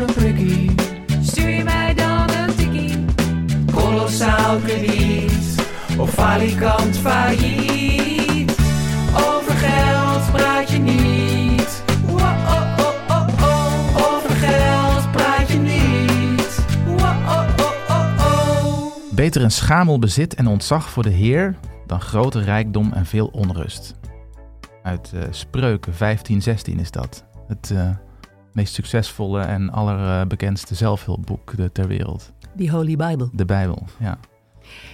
een prikkie. Stuur je mij dan een tikkie? Kolossaal krediet, Op falikant failliet. Over geld praat je niet. Wow-oh-oh-oh-oh. Over geld praat je niet. Wow-oh-oh-oh-oh. Beter een schamel bezit en ontzag voor de Heer dan grote rijkdom en veel onrust. Uit eh, Spreuken 1516 is dat. Het eh, meest succesvolle en allerbekendste zelfhulpboek eh, ter wereld. Die Holy Bible. De Bijbel, ja.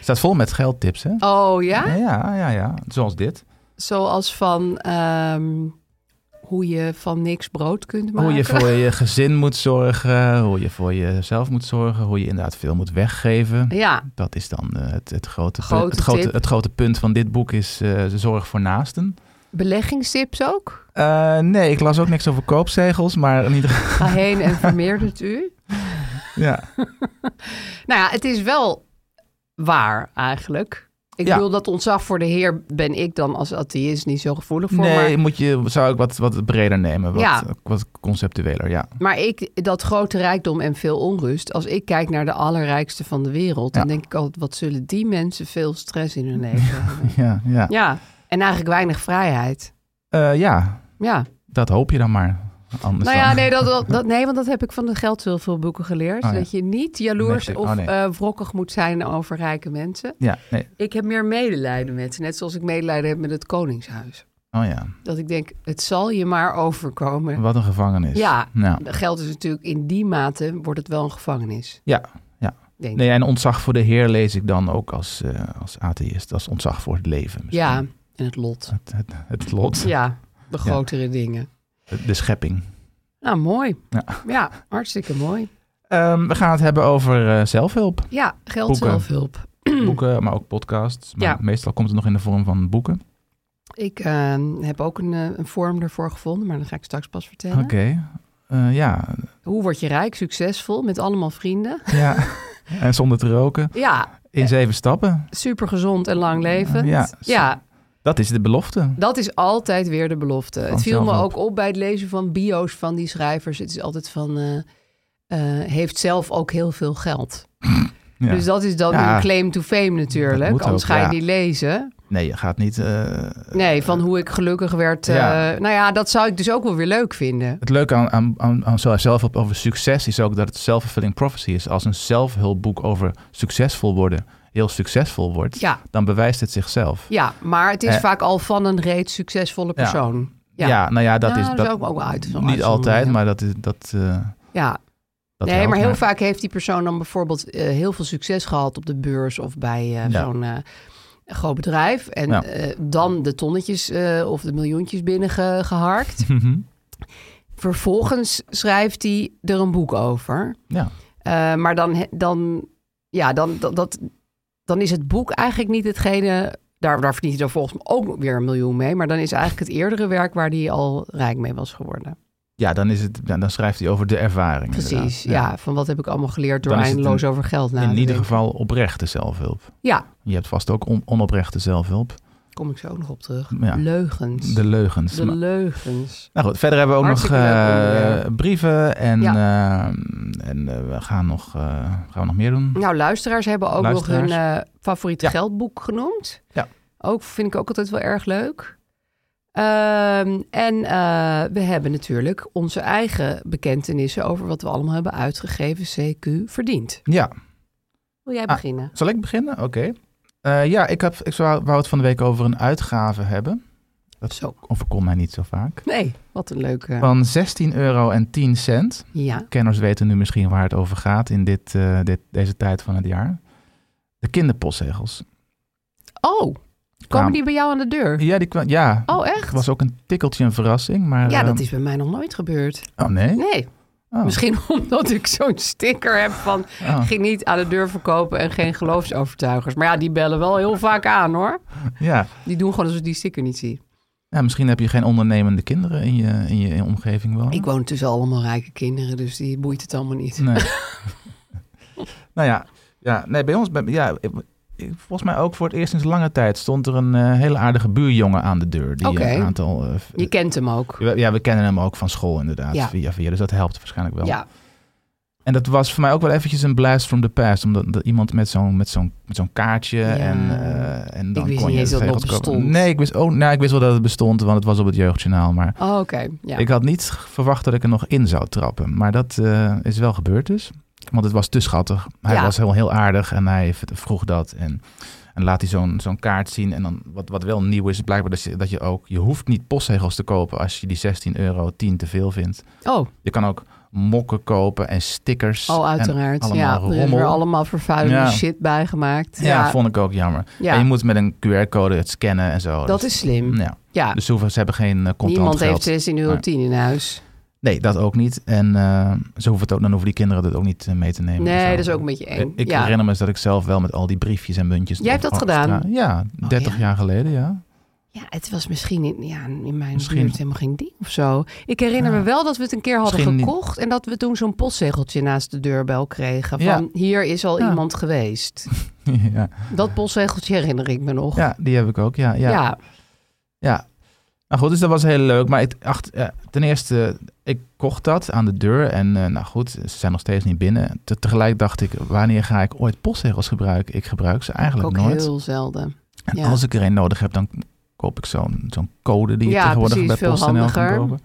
Staat vol met geldtips, hè? Oh ja? Ja, ja, ja. Zoals dit. Zoals van ehm, hoe je van niks brood kunt maken. Hoe je voor je gezin moet zorgen, hoe je voor jezelf moet zorgen, hoe je inderdaad veel moet weggeven. Ja, Dat is dan eh, het, het, grote, pu- Grote het, grote, tip. het grote punt van dit boek is eh, zorg voor naasten. beleggingstips ook. Eh, nee, ik las ook niks over koopzegels, maar in ieder geval... Ga heen en vermeerdert u. Ja, Nou ja, het is wel waar eigenlijk. Ik Ja. bedoel, dat ontzag voor de Heer ben ik dan als atheïst niet zo gevoelig voor. nee, Maar, moet je, zou ik wat, wat breder nemen, wat, Ja. wat conceptueler, ja. maar ik, dat grote rijkdom en veel onrust. Als ik kijk naar de allerrijkste van de wereld, Ja. dan denk ik altijd, wat zullen die mensen veel stress in hun leven hebben. Ja, ja. Ja, en eigenlijk weinig vrijheid. Eh, ja Ja. dat hoop je dan maar. Anders Nou ja, dan- nee, dat, dat, dat- nee, want dat heb ik van de geldhulpboeken geleerd. Oh, ja. Dat je niet jaloers Nee, of oh, nee. eh, wrokkig moet zijn over rijke mensen. Ja, nee. Ik heb meer medelijden met ze. Net zoals ik medelijden heb met het Koningshuis. Oh ja, Dat ik denk, het zal je maar overkomen. wat een gevangenis. Ja, ja. geld is natuurlijk in die mate, wordt het wel een gevangenis. Ja, ja. Denk. Nee, en ontzag voor de Heer lees ik dan ook als, eh, als atheïst, als ontzag voor het leven. misschien. Ja, en het lot. Het, het, het lot, Ja, de grotere dingen. de schepping. Nou, mooi. Ja. Ja, hartstikke mooi. Ehm, we gaan het hebben over eh, zelfhulp. Ja, geld Boeken. zelfhulp. boeken, maar ook podcasts. Maar Ja. meestal komt het nog in de vorm van boeken. Ik eh, heb ook een, eh, een vorm daarvoor gevonden, maar dat ga ik straks pas vertellen. Oké. Eh, ja. Hoe word je rijk, succesvol, met allemaal vrienden? ja. en zonder te roken. Ja, In zeven stappen. super gezond en lang leven. Ja, Ja, Dat is de belofte. dat is altijd weer de belofte. het viel me zelfhulp. ook op bij het lezen van bio's van die schrijvers. Het is altijd van, eh, eh, heeft zelf ook heel veel geld. Ja. Dus dat is dan Ja. een claim to fame Dat natuurlijk. moet Anders ook, ga je ja. die lezen. Nee, je gaat niet. eh, Nee, van hoe ik gelukkig werd. eh, Ja. nou ja, dat zou ik dus ook wel weer leuk vinden. Het leuke aan, aan, aan, aan zo- zelfhulp over succes is ook dat het self-fulfilling prophecy is. Als een zelfhulpboek over succesvol worden heel succesvol wordt, Ja. dan bewijst het zichzelf. Ja, maar het is Eh. vaak al van een reeds succesvolle Ja. persoon. Ja, nou ja, dat Nou, is dat is ook- ook uit- zo'n niet uitzondering, altijd, ja. maar dat is dat. eh, ja. dat nee, helpt, maar heel vaak heeft die persoon dan bijvoorbeeld eh, heel veel succes gehad op de beurs of bij eh, Ja. zo'n eh, groot bedrijf. En Ja. eh, dan de tonnetjes eh, of de miljoentjes binnengeharkt. Mhm. Vervolgens schrijft hij er een boek over. Ja. Eh, maar dan, he- dan, ja, dan, dat, dat- dan is het boek eigenlijk niet hetgene. Daar, daar verdient hij er volgens mij ook weer een miljoen mee. Maar dan is eigenlijk het eerdere werk waar hij al rijk mee was geworden. Ja, dan, is het, dan dan schrijft hij over de ervaring. Precies, inderdaad. ja. Van wat heb ik allemaal geleerd door Dan is het eindeloos een- over geld na In te ieder denken. geval oprechte zelfhulp. Ja, Je hebt vast ook on- onoprechte zelfhulp. kom ik zo ook nog op terug. Ja. Leugens. De leugens. De Maar- leugens. nou goed, verder hebben we ook nog Hartstikke leuk eh, onderwerp. brieven en, eh, en eh, we gaan nog, eh, gaan we nog meer doen. Nou, luisteraars hebben ook nog hun Luisteraars. eh, favoriet Ja. geldboek genoemd. Ja. Ook vind ik ook altijd wel erg leuk. Ehm, en eh, we hebben natuurlijk onze eigen bekentenissen over wat we allemaal hebben uitgegeven, CQ verdiend. Ja, Wil jij Ah. beginnen? zal ik beginnen? Oké. Eh, ja, ik, heb, ik zou, wou het van de week over een uitgave hebben. Dat Zo. overkomt mij niet zo vaak. Nee, wat een leuke. Van 16 euro en 10 cent. Ja, Kenners weten nu misschien waar het over gaat in dit, eh, dit, deze tijd van het jaar. De kinderpostzegels. Oh, komen Kwamen- die bij jou aan de deur? Nou, Ja, die kwam, ja. Oh, echt? was ook een tikkeltje een verrassing, maar... Ja, dat eh, is bij mij nog nooit gebeurd. Oh, nee? Nee, Oh, misschien omdat ik zo'n sticker heb van... oh. ging niet aan de deur verkopen en geen geloofsovertuigers. Maar ja, die bellen wel heel vaak aan, hoor. Ja. Die doen gewoon alsof ik die sticker niet zie. ja, misschien heb je geen ondernemende kinderen in je, in je, in je omgeving wonen. Ik woon tussen allemaal rijke kinderen, dus die boeit het allemaal niet. Oh. Nee. nou ja, ja, nee, bij ons... bij- ja, ik- ik- volgens mij ook voor het eerst sinds lange tijd stond er een eh, hele aardige buurjongen aan de deur. Die Oké. een aantal... eh, Je kent hem ook. ja, we- ja, we kennen hem ook van school inderdaad, Ja. via via. Dus dat helpt waarschijnlijk wel. Ja, En dat was voor mij ook wel eventjes een blast from the past. Omdat dat iemand met zo'n met zo'n met zo'n kaartje en, eh, en dan wist kon niet je eens dat dat tegels kopen. bestond. Nee, ik wist, ook, nou, ik wist wel dat het bestond, want het was op het jeugdjournaal. Maar oh, oké. Ja. ik had niet verwacht dat ik er nog in zou trappen. Maar dat eh, is wel gebeurd dus. Want het was te schattig. Hij Ja. was heel, heel aardig en hij v- vroeg dat. En, en laat hij zo'n zo'n kaart zien. En dan, wat, wat wel nieuw is, blijkbaar dat je, dat je ook... Je hoeft niet postzegels te kopen als je die 16 euro 10 te veel vindt. Oh, Je kan ook mokken kopen en stickers. oh, En uiteraard. allemaal Ja, er is rommel. weer allemaal vervuilende Ja. shit bijgemaakt. ja, vond ik ook jammer. Ja. En je moet met een QR-code het scannen en zo. dat Dus- is slim. Ja. Ja, Dus ze, hoeven, ze hebben geen eh, contant niemand heeft geld. 16 euro Nee. 10 in huis. Nee, dat ook niet. En eh, ze hoeven het ook, dan hoeven die kinderen dat ook niet eh, mee te nemen. Nee, en zo. dat is ook een beetje eng. Eh, Ik ja. herinner me eens dat ik zelf wel met al die briefjes en muntjes... Jij hebt op- dat op gedaan? Oh, straat- Ja, 30 ja. jaar geleden, ja. ja, het was misschien in, ja, in mijn Misschien- buurt helemaal geen ding of zo. Ik herinner Ja. me wel dat we het een keer hadden Misschien niet- gekocht... en dat we toen zo'n postzegeltje naast de deurbel kregen. Van, Ja. hier is al Ja. iemand geweest. ja. Dat postzegeltje herinner ik me nog. ja, die heb ik ook, ja. ja. ja. ja. Nou goed, dus dat was heel leuk. Maar ik, acht, eh, ten eerste, ik kocht dat aan de deur. En eh, nou goed, ze zijn nog steeds niet binnen. Te- tegelijk dacht ik, wanneer ga ik ooit postzegels gebruiken? Ik gebruik ze eigenlijk ook nooit. heel zelden. En Ja. als ik er een nodig heb, dan koop ik zo'n zo'n code die je Ja, tegenwoordig precies, bij veel PostNL kan handiger. kopen.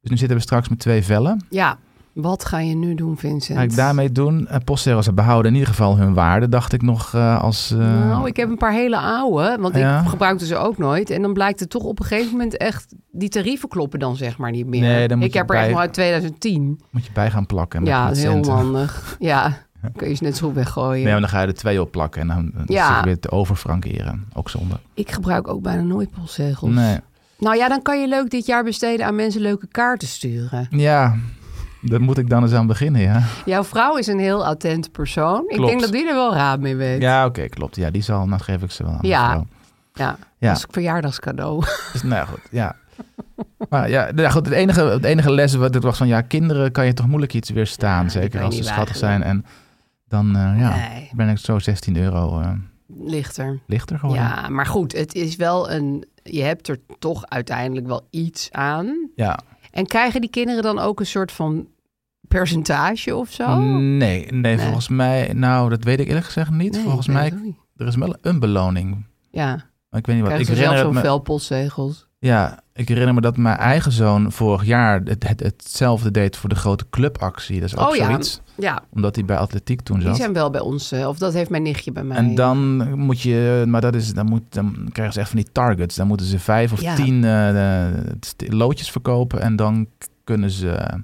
Dus nu zitten we straks met twee vellen. Ja, wat ga je nu doen, Vincent? Ga ik daarmee doen? Eh, postzegels behouden in ieder geval hun waarde, dacht ik nog eh, als... eh, Nou, ik heb een paar hele oude, want Ja. ik gebruikte ze ook nooit. En dan blijkt het toch op een gegeven moment echt... die tarieven kloppen dan zeg maar niet meer. Nee, dan moet ik je heb er echt bij- nog uit 2010. Moet je bij gaan plakken. Met, ja, dat met is heel centen. handig. Ja, kun je ze net zo goed weggooien. Nee, maar dan ga je er twee op plakken en dan, dan Ja. zit je weer te overfrankeren. Ook zonde. Ik gebruik ook bijna nooit postzegels. Nee. Nou ja, dan kan je leuk dit jaar besteden aan mensen leuke kaarten sturen. Ja, daar moet ik dan eens aan beginnen, ja. Jouw vrouw is een heel attent persoon. Ik Klopt. denk dat die er wel raad mee weet. Ja, oké, klopt. Ja, die zal, nou geef ik ze wel aan. de Ja. vrouw. Ja, Ja. als verjaardagscadeau. Dus, nou ja, goed, ja. Maar ja, nou ja, goed, het enige, het enige les wat het was van, ja, kinderen kan je toch moeilijk iets weerstaan. Ja, die kan zeker je als ze niet schattig zijn. weigeren. En dan, eh, ja, Nee, ben ik zo 16 euro eh, lichter. lichter geworden. Ja, maar goed, het is wel een. Je hebt er toch uiteindelijk wel iets aan. Ja. En krijgen die kinderen dan ook een soort van percentage of zo? Nee, nee, volgens mij, nou, dat weet ik eerlijk gezegd Mm, niet. Nee, volgens ik weet mij, het ook niet. er is wel een beloning. Ja, Maar Ik weet niet wat. krijgen ik ze zelf herinner het zo'n me- vel postzegels. Ja, ik herinner me dat mijn eigen zoon vorig jaar het, het, hetzelfde deed voor de grote clubactie. Dat is ook Oh ja, zoiets, Ja, omdat hij bij atletiek toen die zat. zijn wel bij ons. eh, Of dat heeft mijn nichtje bij mij. En dan moet je, maar dat is, dan, moet, dan krijgen ze echt van die targets. Dan moeten ze vijf of Ja. tien eh, eh, st- loodjes verkopen en dan k- kunnen ze eh,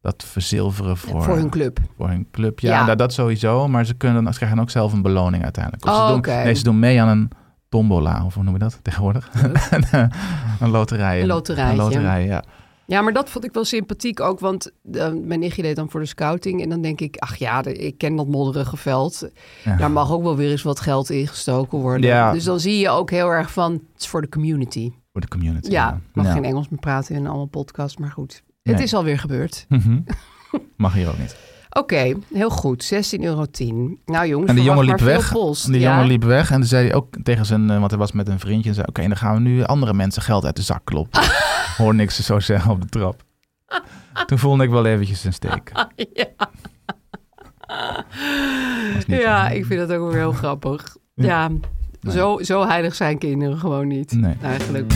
dat verzilveren voor, eh, voor hun club. voor hun club. Ja, Ja. Dat, dat sowieso, maar ze, kunnen, dan- ze krijgen ook zelf een beloning uiteindelijk. Of ze Oh, doen, oké. Nee, ze doen mee aan een tombola, of hoe noem je dat tegenwoordig? een loterij. Een loterijtje. Een loterij, ja. Ja, maar dat vond ik wel sympathiek ook. Want eh, mijn nichtje deed dan voor de scouting. En dan denk ik, ach ja, de- ik ken dat modderige veld. Ja. Daar mag ook wel weer eens wat geld in gestoken worden. Ja. Dus dan zie je ook heel erg van, het is voor de community. Voor de community. Ja, ik mag Ja. Nou. geen Engels meer praten in allemaal podcast, maar goed. Het Nee. is alweer gebeurd. Mhm. Mag hier ook niet. Oké, heel goed. 16,10 euro. Nou jongens, En die jongen liep verwacht maar weg. veel post. Die Ja. jongen liep weg en toen zei hij ook tegen zijn, eh, want hij was met een vriendje en zei, oké, dan gaan we nu andere mensen geld uit de zak kloppen. Hoor niks zo zeggen op de trap. Toen voelde ik wel eventjes een steek. is niet Ja, zo. ik vind dat ook wel heel grappig. Ja, Nee. zo, zo heilig zijn kinderen gewoon niet. Nee. Eigenlijk.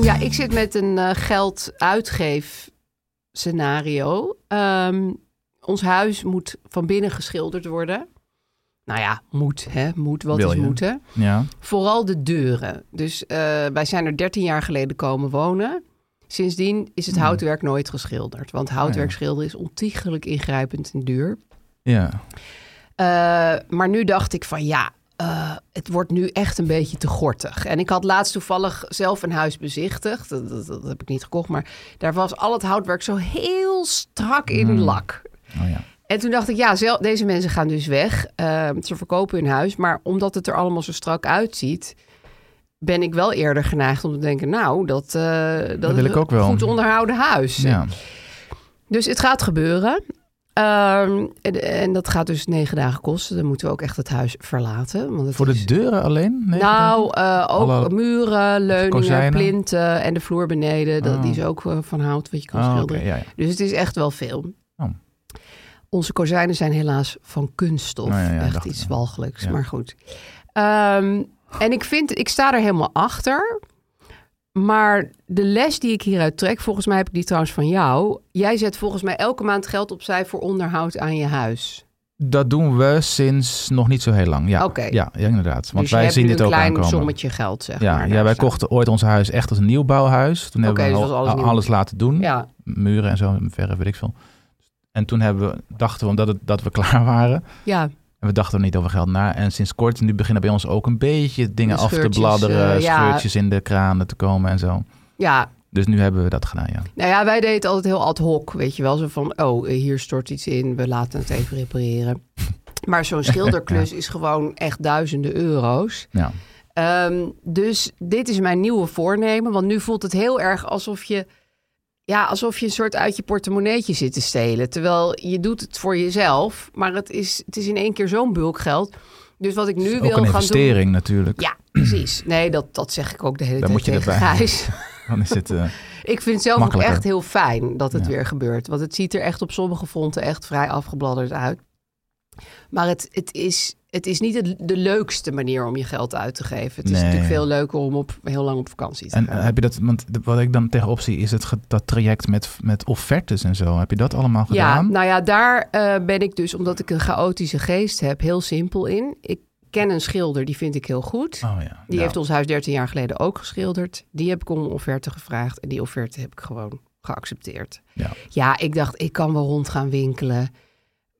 Ja, ik zit met een eh, gelduitgeef scenario. Ehm, ons huis moet van binnen geschilderd worden. Nou ja, moet, hè? Moet, wat Wil is je? moeten? Ja. Vooral de deuren. Dus eh, wij zijn er 13 jaar geleden komen wonen. Sindsdien is het houtwerk nooit geschilderd. Want houtwerk schilderen is ontiegelijk ingrijpend en duur. Ja. Eh, maar nu dacht ik van ja, eh, het wordt nu echt een beetje te gortig. En ik had laatst toevallig zelf een huis bezichtigd. Dat, dat, dat heb ik niet gekocht. Maar daar was al het houtwerk zo heel strak in lak. Oh ja. En toen dacht ik, ja, zel- deze mensen gaan dus weg. Eh, ze verkopen hun huis. Maar omdat het er allemaal zo strak uitziet, ben ik wel eerder geneigd om te denken, nou, dat, eh, dat, wil is ik een ook wel. goed onderhouden huis. Ja. Dus het gaat gebeuren. Ehm, en, en dat gaat dus negen dagen kosten. Dan moeten we ook echt het huis verlaten. Want het Voor is- de deuren alleen? Nee, nou, eh, ook Alle- muren, leuningen, kozijnen? plinten en de vloer beneden. Dat, Oh. Die is ook eh, van hout, wat je kan Oh, oké, schilderen. ja, ja. Dus het is echt wel veel. Oh. Onze kozijnen zijn helaas van kunststof. Oh, ja, ja, echt dacht iets ik. walgelijks, Ja. maar goed. Ehm, en ik vind, ik sta er helemaal achter. Maar de les die ik hieruit trek, volgens mij heb ik die trouwens van jou. Jij zet volgens mij elke maand geld opzij voor onderhoud aan je huis. Dat doen we sinds nog niet zo heel lang. Ja, Oké. ja, ja inderdaad. Want dus je wij hebt zien nu dit een ook klein aankomen. sommetje geld, zeg maar. ja, ja, daar wij staan. kochten ooit ons huis echt als een nieuwbouwhuis. Toen Oké, hebben dus we dat was al- alles nieuw. alles laten doen. Ja, Muren en zo, verre weet ik veel. En toen hebben we, dachten we omdat het, dat we klaar waren. ja. En we dachten er niet over geld na. En sinds kort, nu beginnen bij ons ook een beetje dingen De af te scheurtjes, bladderen. eh, ja. scheurtjes in de kranen te komen en zo. ja. Dus nu hebben we dat gedaan, ja. Nou ja, wij deden het altijd heel ad hoc, weet je wel. Zo van, oh, eh, hier stort iets in, we laten het even repareren. Maar zo'n schilderklus is gewoon echt duizenden euro's. ja. Ehm, dus dit is mijn nieuwe voornemen. Want nu voelt het heel erg alsof je... Ja, alsof je een soort uit je portemonneetje zit te stelen. Terwijl je doet het voor jezelf. Maar het is, het is in één keer zo'n bulk geld. Dus wat ik nu wil Ook een gaan doen... investering natuurlijk. Ja, precies. Nee, dat, dat zeg ik ook de hele Daar tijd moet je tegen erbij. Gijs. Dan is het... eh, Ik vind het zelf ook Makkelijker. echt heel fijn dat het Ja. weer gebeurt. Want het ziet er echt op sommige fronten echt vrij afgebladderd uit. Maar het, het is, het is niet het- de leukste manier om je geld uit te geven. Het is Nee. natuurlijk veel leuker om op, heel lang op vakantie te En eh, gaan. heb je dat, want wat ik dan tegenop zie is het, ge- dat traject met, met offertes en zo. Heb je dat allemaal ja, gedaan? nou ja, daar eh, ben ik dus, omdat ik een chaotische geest heb, heel simpel in. Ik ken een schilder, die vind ik heel goed. oh ja. nou, Die Ja. heeft ons huis 13 jaar geleden ook geschilderd. Die heb ik om een offerte gevraagd. En die offerte heb ik gewoon geaccepteerd. Ja. Ja, ik dacht, ik kan wel rond gaan winkelen.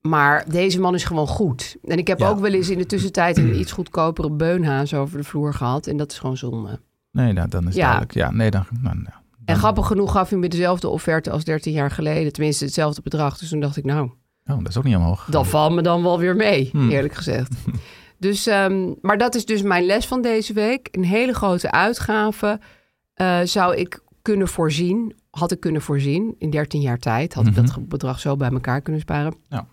Maar deze man is gewoon goed. En ik heb Ja. ook wel eens in de tussentijd een iets goedkopere beunhaas over de vloer gehad. En dat is gewoon zonde. Nee, nou, dan is Ja. het duidelijk. Ja, nee, dan... nou, nou, En grappig genoeg gaf hij me dezelfde offerte als 13 jaar geleden. Tenminste, hetzelfde bedrag. Dus toen dacht ik, nou, oh, dat is ook niet omhoog. dat valt me dan wel weer mee, Hmm. eerlijk gezegd. Dus, ehm, maar dat is dus mijn les van deze week. Een hele grote uitgave eh, zou ik kunnen voorzien, had ik kunnen voorzien. In 13 jaar tijd had ik dat ge- bedrag zo bij elkaar kunnen sparen. Mhm. Ja.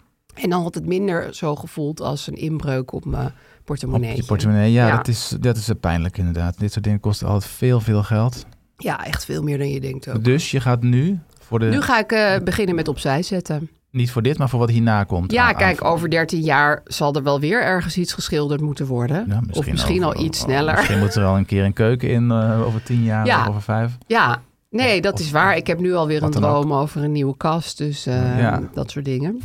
En dan had het minder zo gevoeld als een inbreuk op mijn Op portemonnee. je portemonnee, ja, Ja. Dat, is, dat is pijnlijk inderdaad. Dit soort dingen kosten altijd veel, veel geld. Ja, echt veel meer dan je denkt ook. Dus je gaat nu, voor de, Nu ga ik eh, beginnen met opzij zetten. niet voor dit, maar voor wat hierna komt. Ah, Ja, aan- kijk, aan- over 13 jaar zal er wel weer ergens iets geschilderd moeten worden. Ja, of misschien nou, over- al iets oh, sneller. Misschien moet er al een keer een keuken in eh, over tien jaar Ja. of over vijf. Ja, nee, dat of- is waar. Ik heb nu alweer een wat dan ook. droom over een nieuwe kast. Dus eh, Ja. dat soort dingen.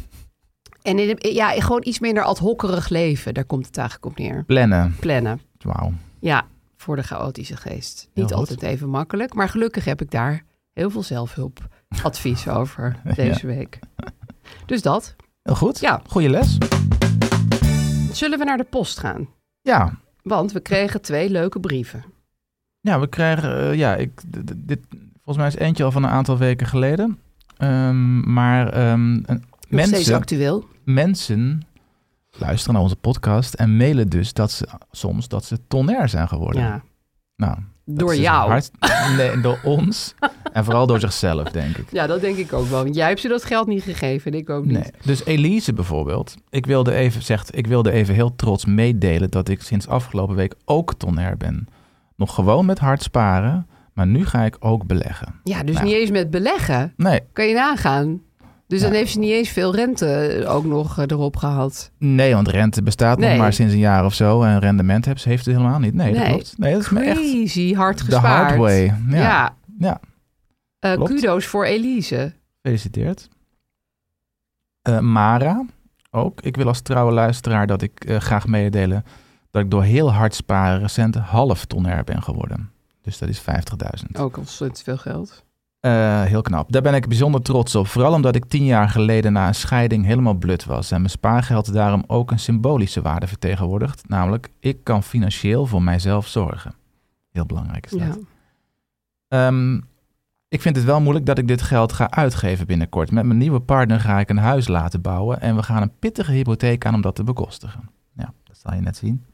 En in, ja, gewoon iets minder ad hockerig leven. Daar komt het eigenlijk op neer. Plannen. Plannen. Wauw. Ja, voor de chaotische geest. Niet goed. altijd even makkelijk. Maar gelukkig heb ik daar heel veel zelfhulpadvies over deze week. Dus dat. Heel goed. Ja. Goeie les. Zullen we naar de post gaan? Ja, Want we kregen twee leuke brieven. Ja, we krijgen, eh, ja, ik, d- d- dit, volgens mij is eentje al van een aantal weken geleden. Ehm, maar ehm, een- Nog steeds mensen, actueel. mensen luisteren naar onze podcast en mailen dus dat ze soms dat ze tonair zijn geworden. Ja. Nou, Door jou. Hart, nee, door ons. En vooral door zichzelf, denk ik. Ja, dat denk ik ook wel. Want jij hebt ze dat geld niet gegeven en ik ook niet. Nee. Dus Elise bijvoorbeeld, ik wilde even, zegt, ik wilde even heel trots meedelen dat ik sinds afgelopen week ook tonair ben. Nog gewoon met hard sparen, maar nu ga ik ook beleggen. Ja, dus Nou. niet eens met beleggen. Nee, Kan je nagaan. Dus dan Ja. heeft ze niet eens veel rente ook nog eh, erop gehad. nee want rente bestaat nog Nee. maar sinds een jaar of zo. En rendement heeft, heeft ze helemaal niet. Nee, dat Nee. klopt. Nee, dat is me echt Crazy hard the gespaard. hard way. Ja, Ja. ja. Eh, Klopt. kudo's voor Elise. gefeliciteerd. Eh, Mara, ook. Ik wil als trouwe luisteraar dat ik eh, graag meedelen dat ik door heel hard sparen recent half tonair ben geworden. Dus dat is 50.000. Ook ontzettend veel geld. Eh, heel knap. Daar ben ik bijzonder trots op. Vooral omdat ik tien jaar geleden na een scheiding helemaal blut was. En mijn spaargeld daarom ook een symbolische waarde vertegenwoordigt. Namelijk, ik kan financieel voor mijzelf zorgen. Heel belangrijk is dat. Ja. Ehm, ik vind het wel moeilijk dat ik dit geld ga uitgeven binnenkort. Met mijn nieuwe partner ga ik een huis laten bouwen. En we gaan een pittige hypotheek aan om dat te bekostigen. Ja, dat zal je net zien.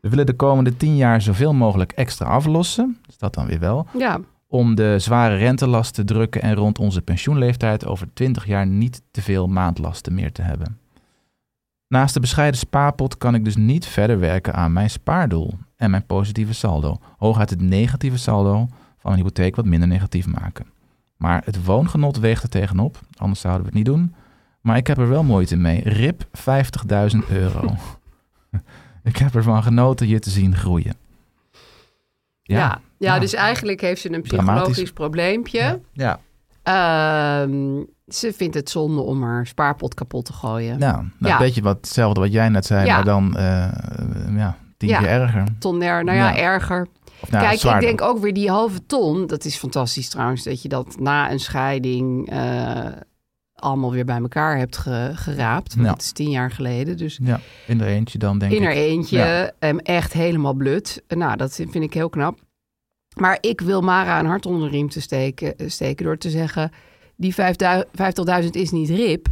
We willen de komende tien jaar zoveel mogelijk extra aflossen. Dus dat dan weer wel ja. om de zware rentelast te drukken en rond onze pensioenleeftijd over 20 jaar niet te veel maandlasten meer te hebben. Naast de bescheiden spaarpot kan ik dus niet verder werken aan mijn spaardoel en mijn positieve saldo. Hooguit het negatieve saldo van een hypotheek wat minder negatief maken. Maar het woongenot weegt er tegenop, anders zouden we het niet doen. Maar ik heb er wel moeite mee. Rip 50.000 euro. ik heb ervan genoten je te zien groeien. Ja. Ja. Ja. dus eigenlijk heeft ze een Dramatisch. psychologisch probleempje. ja. Ehm, ze vindt het zonde om haar spaarpot kapot te gooien. Ja, nou, Ja. een beetje wat, hetzelfde wat jij net zei, Ja. maar dan eh eh, ja, tien Ja. keer erger. Tonner, nou ja, Ja. erger. Of, nou, Kijk, ik zwaarder. denk ook weer die halve ton. Dat is fantastisch trouwens, dat je dat na een scheiding eh, allemaal weer bij elkaar hebt ge- geraapt. Want Ja. het is tien jaar geleden, dus Ja, in er eentje dan denk in ik. haar eentje, Ja. hem echt helemaal blut. Nou, dat vind ik heel knap. Maar ik wil Mara een hart onder de riem te steken, steken door te zeggen... die 50.000 is niet rip.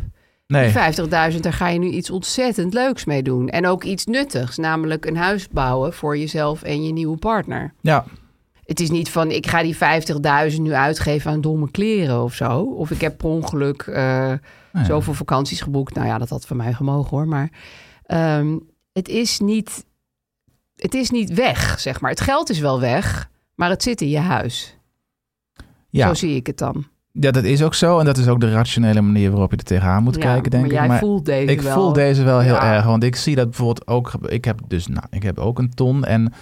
Nee, Die 50.000, daar ga je nu iets ontzettend leuks mee doen. En ook iets nuttigs, namelijk een huis bouwen voor jezelf en je nieuwe partner. ja, Het is niet van, ik ga die 50.000 nu uitgeven aan domme kleren of zo. Of ik heb per ongeluk eh, zoveel vakanties geboekt. Nou ja, dat had van mij gemogen hoor. Maar ehm, het, is niet, het is niet weg, zeg maar. Het geld is wel weg, maar het zit in je huis. ja. Zo zie ik het dan. ja, dat is ook zo. En dat is ook de rationele manier waarop je er tegenaan moet Ja, kijken, denk maar ik. jij Maar voelt deze ik wel. voel deze wel heel Ja. erg, want ik zie dat bijvoorbeeld ook. gebe- Ik heb dus, nou, ik heb ook een ton. En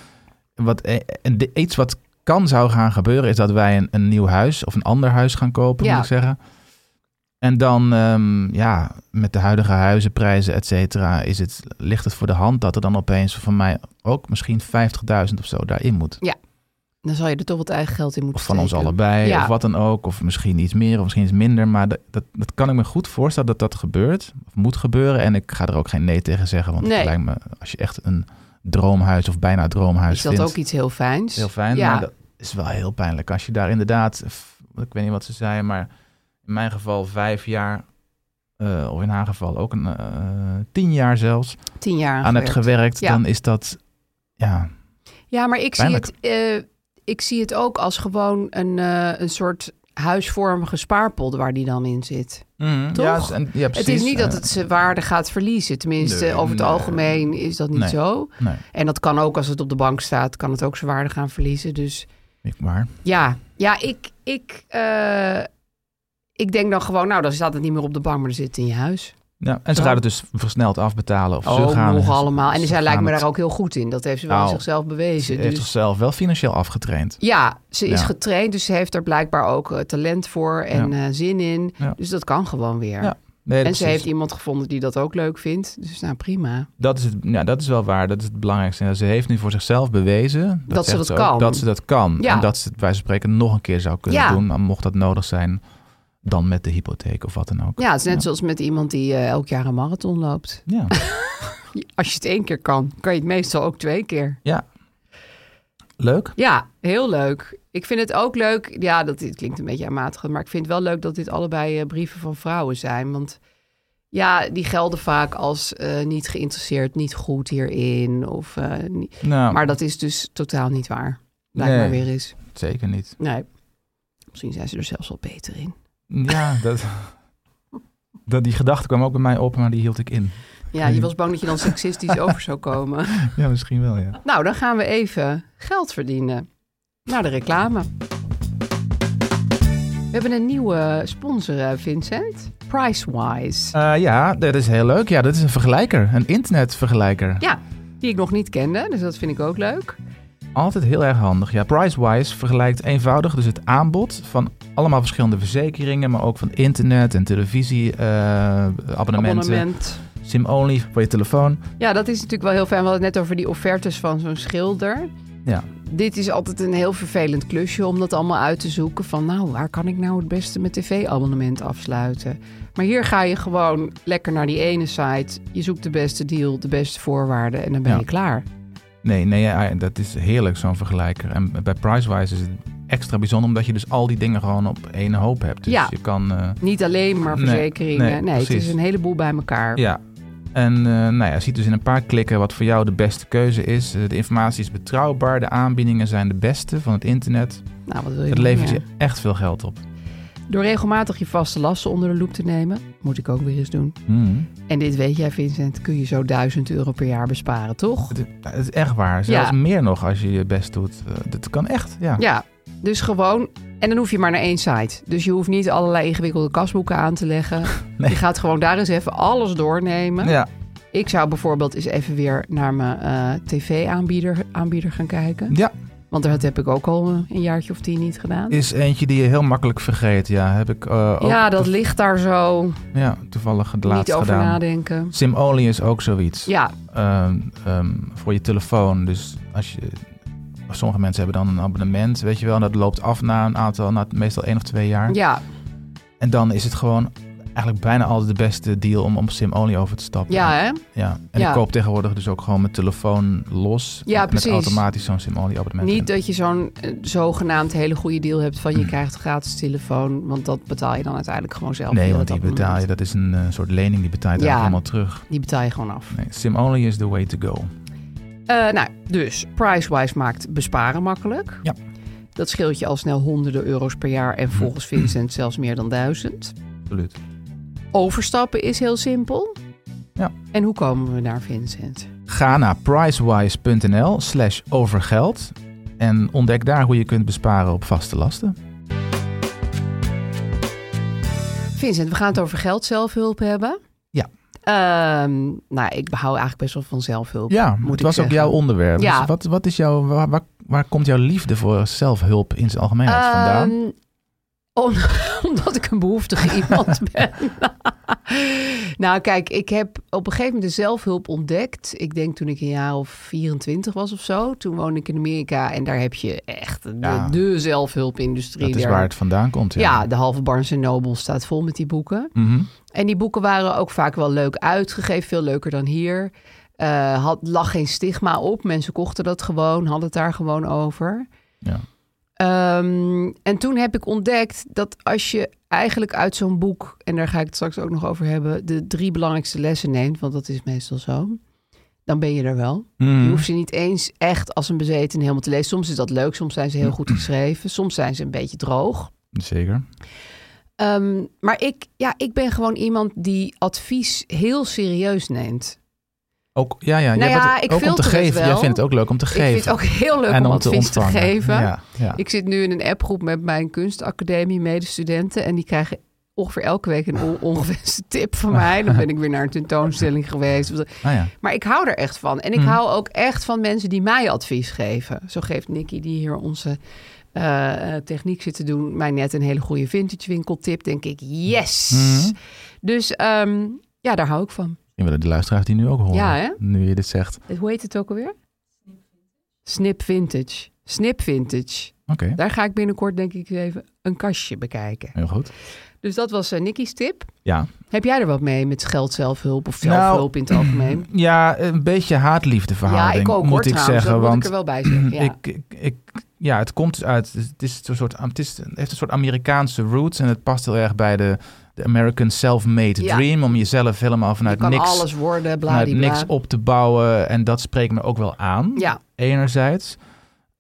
wat, eh, en de- iets wat kan zou gaan gebeuren, is dat wij een, een nieuw huis of een ander huis gaan kopen, Ja. moet ik zeggen. En dan, ehm, ja, met de huidige huizenprijzen, et cetera, is het, ligt het voor de hand dat er dan opeens van mij ook misschien 50.000 of zo daarin moet. Dan zal je er toch wat eigen geld in moeten Of van ons steken. allebei, Ja. of wat dan ook. Of misschien iets meer, of misschien iets minder. Maar dat, dat, dat kan ik me goed voorstellen dat dat gebeurt. Of moet gebeuren. En ik ga er ook geen nee tegen zeggen. Want Nee. het lijkt me, als je echt een droomhuis of bijna droomhuis Is dat vindt... ook iets heel fijns? heel fijn, Ja. maar dat is wel heel pijnlijk. Als je daar inderdaad, f- ik weet niet wat ze zei, maar in mijn geval vijf jaar... eh, of in haar geval ook een, eh, tien jaar zelfs, Tien jaar aan hebt gewerkt. gewerkt, Ja. dan is dat, ja, Ja, maar ik zie, het, eh, ik zie het ook als gewoon een, eh, een soort huisvormige spaarpot waar die dan in zit. Toch? Mm, Ja, en, ja, precies. het is niet dat Eh, het zijn waarde gaat verliezen. Tenminste, Nee, over het nee. algemeen is dat niet Nee. zo. Nee, En dat kan ook als het op de bank staat, kan het ook zijn waarde gaan verliezen. Dus ik maar. ja, ja ik, ik, eh, ik denk dan gewoon, nou, dan staat het niet meer op de bank, maar dan zit het in je huis. Ja, en ze Zo. gaat het dus versneld afbetalen. Of ze Oh, gaan nog allemaal. En ze zij lijkt gaan me het- daar ook heel goed in. Dat heeft ze wel aan Nou, zichzelf Ze bewezen. heeft dus- zichzelf wel financieel afgetraind. Ja, ze is Ja. getraind, dus ze heeft er blijkbaar ook eh, talent voor en eh, zin in. Ja. Dus dat kan gewoon weer. Ja, Nee, en dat, ze is- dus- heeft iemand gevonden die dat ook leuk vindt. Dus nou, prima. dat, is het, ja, dat is wel waar. Dat is het belangrijkste. En Ze heeft nu voor zichzelf bewezen Dat ze zegt dat ook, kan. Dat ze dat kan. Ja. En dat ze het bij wijze van spreken nog een keer zou kunnen Ja. doen. Maar mocht dat nodig zijn, dan met de hypotheek of wat dan ook. Ja, het is net zoals met iemand die eh, elk jaar een marathon loopt. Ja. Als je het één keer kan, kan je het meestal ook twee keer. ja. Leuk. Ja, heel leuk. Ik vind het ook leuk. Ja, dat dit klinkt een beetje aanmatigend, maar ik vind het wel leuk dat dit allebei eh, brieven van vrouwen zijn. Want ja, die gelden vaak als eh, niet geïnteresseerd, niet goed hierin. Of, eh, niet- Nou, Maar dat is dus totaal niet waar. blijkbaar Nee. weer is. Zeker niet. Nee. Misschien zijn ze er zelfs wel beter in. Ja, dat, dat, die gedachte kwam ook bij mij op, maar die hield ik in. Ja, Hmm. je was bang dat je dan seksistisch over zou komen. Ja, misschien wel, ja. Nou, dan gaan we even geld verdienen. Naar de reclame. We hebben een nieuwe sponsor, eh, Vincent. Pricewise. Eh, ja, dat is heel leuk. Ja, dat is een vergelijker. Een internetvergelijker. Ja, die ik nog niet kende, dus dat vind ik ook leuk. Altijd heel erg handig. Ja, Pricewise vergelijkt eenvoudig dus het aanbod van allemaal verschillende verzekeringen, maar ook van internet en televisie, eh, abonnementen, Abonnement. sim-only voor je telefoon. Ja, dat is natuurlijk wel heel fijn. We hadden het net over die offertes van zo'n schilder. Ja. Dit is altijd een heel vervelend klusje om dat allemaal uit te zoeken. Van nou, waar kan ik nou het beste mijn tv-abonnement afsluiten? Maar hier ga je gewoon lekker naar die ene site. Je zoekt de beste deal, de beste voorwaarden en dan ben Ja. je klaar. Nee, nee, ja, dat is heerlijk zo'n vergelijker. En bij Pricewise is het extra bijzonder omdat je dus al die dingen gewoon op één hoop hebt. Dus Ja. je kan... eh, Niet alleen maar Nee, verzekeringen. Nee, nee, het precies. is een heleboel bij elkaar. Ja. En eh, nou ja, ziet dus in een paar klikken wat voor jou de beste keuze is. Eh, De informatie is betrouwbaar, de aanbiedingen zijn de beste van het internet. Nou, wat wil je Het nog levert meer? je echt veel geld op. Door regelmatig je vaste lasten onder de loep te nemen, moet ik ook weer eens doen. Hmm. En dit weet jij, Vincent, kun je zo 1000 euro per jaar besparen, toch? Het, het is echt waar. Zelfs Ja. meer nog als je je best doet. Eh, dat kan echt, ja. Ja, dus gewoon. En dan hoef je maar naar één site. Dus je hoeft niet allerlei ingewikkelde kasboeken aan te leggen. Nee. Je gaat gewoon daar eens even alles doornemen. Ja. Ik zou bijvoorbeeld eens even weer naar mijn eh, tv-aanbieder aanbieder gaan kijken. Ja, Want dat heb ik ook al eh, een jaartje of tien niet gedaan. is eentje die je heel makkelijk vergeet. Ja, heb ik eh, ook ja, dat toev- ligt daar zo. ja, toevallig het laatst niet over gedaan. nadenken. SimOnly is ook zoiets. Ja, Ehm, ehm, voor je telefoon. Dus als je, sommige mensen hebben dan een abonnement, weet je wel. En dat loopt af na een aantal, na meestal één of twee jaar. ja, En dan is het gewoon eigenlijk bijna altijd de beste deal om op SimOnly over te stappen. ja, hè? Ja. En Ja. ik koop tegenwoordig dus ook gewoon mijn telefoon los. Ja, met precies. automatisch zo'n SimOnly abonnement. Niet dat je zo'n eh, zogenaamd hele goede deal hebt van je Mm. krijgt een gratis telefoon. Want dat betaal je dan uiteindelijk gewoon zelf. Nee, via want dat die betaal je, abonnement. dat is een eh, soort lening, die betaal je Ja. eigenlijk helemaal terug. Die betaal je gewoon af. Nee, SimOnly is the way to go. Eh, nou, dus Pricewise maakt besparen makkelijk. Ja. Hm. Dat scheelt je al snel honderden euro's per jaar en volgens Vincent zelfs meer dan duizend. Absoluut. Overstappen is heel simpel. Ja. En hoe komen we daar, Vincent? Ga naar pricewise.nl slash overgeld en ontdek daar hoe je kunt besparen op vaste lasten. Vincent, we gaan het over geld zelfhulp hebben. Ja. Ehm, nou, ik hou eigenlijk best wel van zelfhulp. Ja, Moet het ik was ook zeggen. jouw onderwerp. Ja. Dus wat, wat is jouw, waar, waar, waar komt jouw liefde voor zelfhulp in zijn algemeenheid vandaan? Ehm, om- omdat ik een behoeftige iemand ben. nou, kijk, ik heb op een gegeven moment de zelfhulp ontdekt. Ik denk toen ik een jaar of 24 was of zo. Toen woonde ik in Amerika en daar heb je echt de, Ja. de zelfhulpindustrie. Dat is daar. waar het vandaan komt. Ja, ja, de halve Barnes Noble staat vol met die boeken. Mhm. En die boeken waren ook vaak wel leuk uitgegeven, veel leuker dan hier. Eh, had, lag geen stigma op, mensen kochten dat gewoon, hadden het daar gewoon over. Ja. Ehm, en toen heb ik ontdekt dat als je eigenlijk uit zo'n boek, en daar ga ik het straks ook nog over hebben, de drie belangrijkste lessen neemt, want dat is meestal zo, dan ben je er wel. Je Mhm. hoeft ze niet eens echt als een bezeten helemaal te lezen. Soms is dat leuk, soms zijn ze heel goed geschreven, soms zijn ze een beetje droog. Zeker. Ehm, maar ik, ja, ik ben gewoon iemand die advies heel serieus neemt. Ook, ja, ja, jij Nou ja, bent ik ook om te filter het geven. Jij wel. vindt het ook leuk om te geven. Ik vind het ook heel leuk en om, om te advies te, ontvangen. geven. Ja, ja. Ik zit nu in een appgroep met mijn kunstacademie medestudenten. En die krijgen ongeveer elke week een on- ongewenste tip van mij. Dan ben ik weer naar een tentoonstelling geweest. Ah, ja. Maar ik hou er echt van. En ik Mhm. hou ook echt van mensen die mij advies geven. Zo geeft Nicky, die hier onze eh, eh, techniek zit te doen, mij net een hele goede vintage winkeltip. Denk ik, yes! Mhm. Dus ehm, ja, daar hou ik van. Misschien willen de luisteraars die nu ook horen. Ja, hè? Nu je dit zegt. Oké. Hoe heet het ook alweer? Snip Vintage. Snip Vintage. Daar ga ik binnenkort denk ik even een kastje bekijken. Heel goed. Dus dat was eh, Nicky's tip. Ja. Heb jij er wat mee met geld zelfhulp of Nou, zelfhulp in het algemeen? Ja, een beetje haatliefdeverhouding, Ja, ik ook moet hoor ik trouwens. zeggen. dat moet want ik er wel bij zeggen. Ja. ik, ik, ik- ja, het komt dus uit. Het, is een soort, het, is, het heeft een soort Amerikaanse roots. En het past heel erg bij de, de American self-made Ja. dream. Om jezelf helemaal vanuit je kan niks, alles worden, vanuit bladibla. niks op te bouwen. En dat spreekt me ook wel aan. Ja, Enerzijds.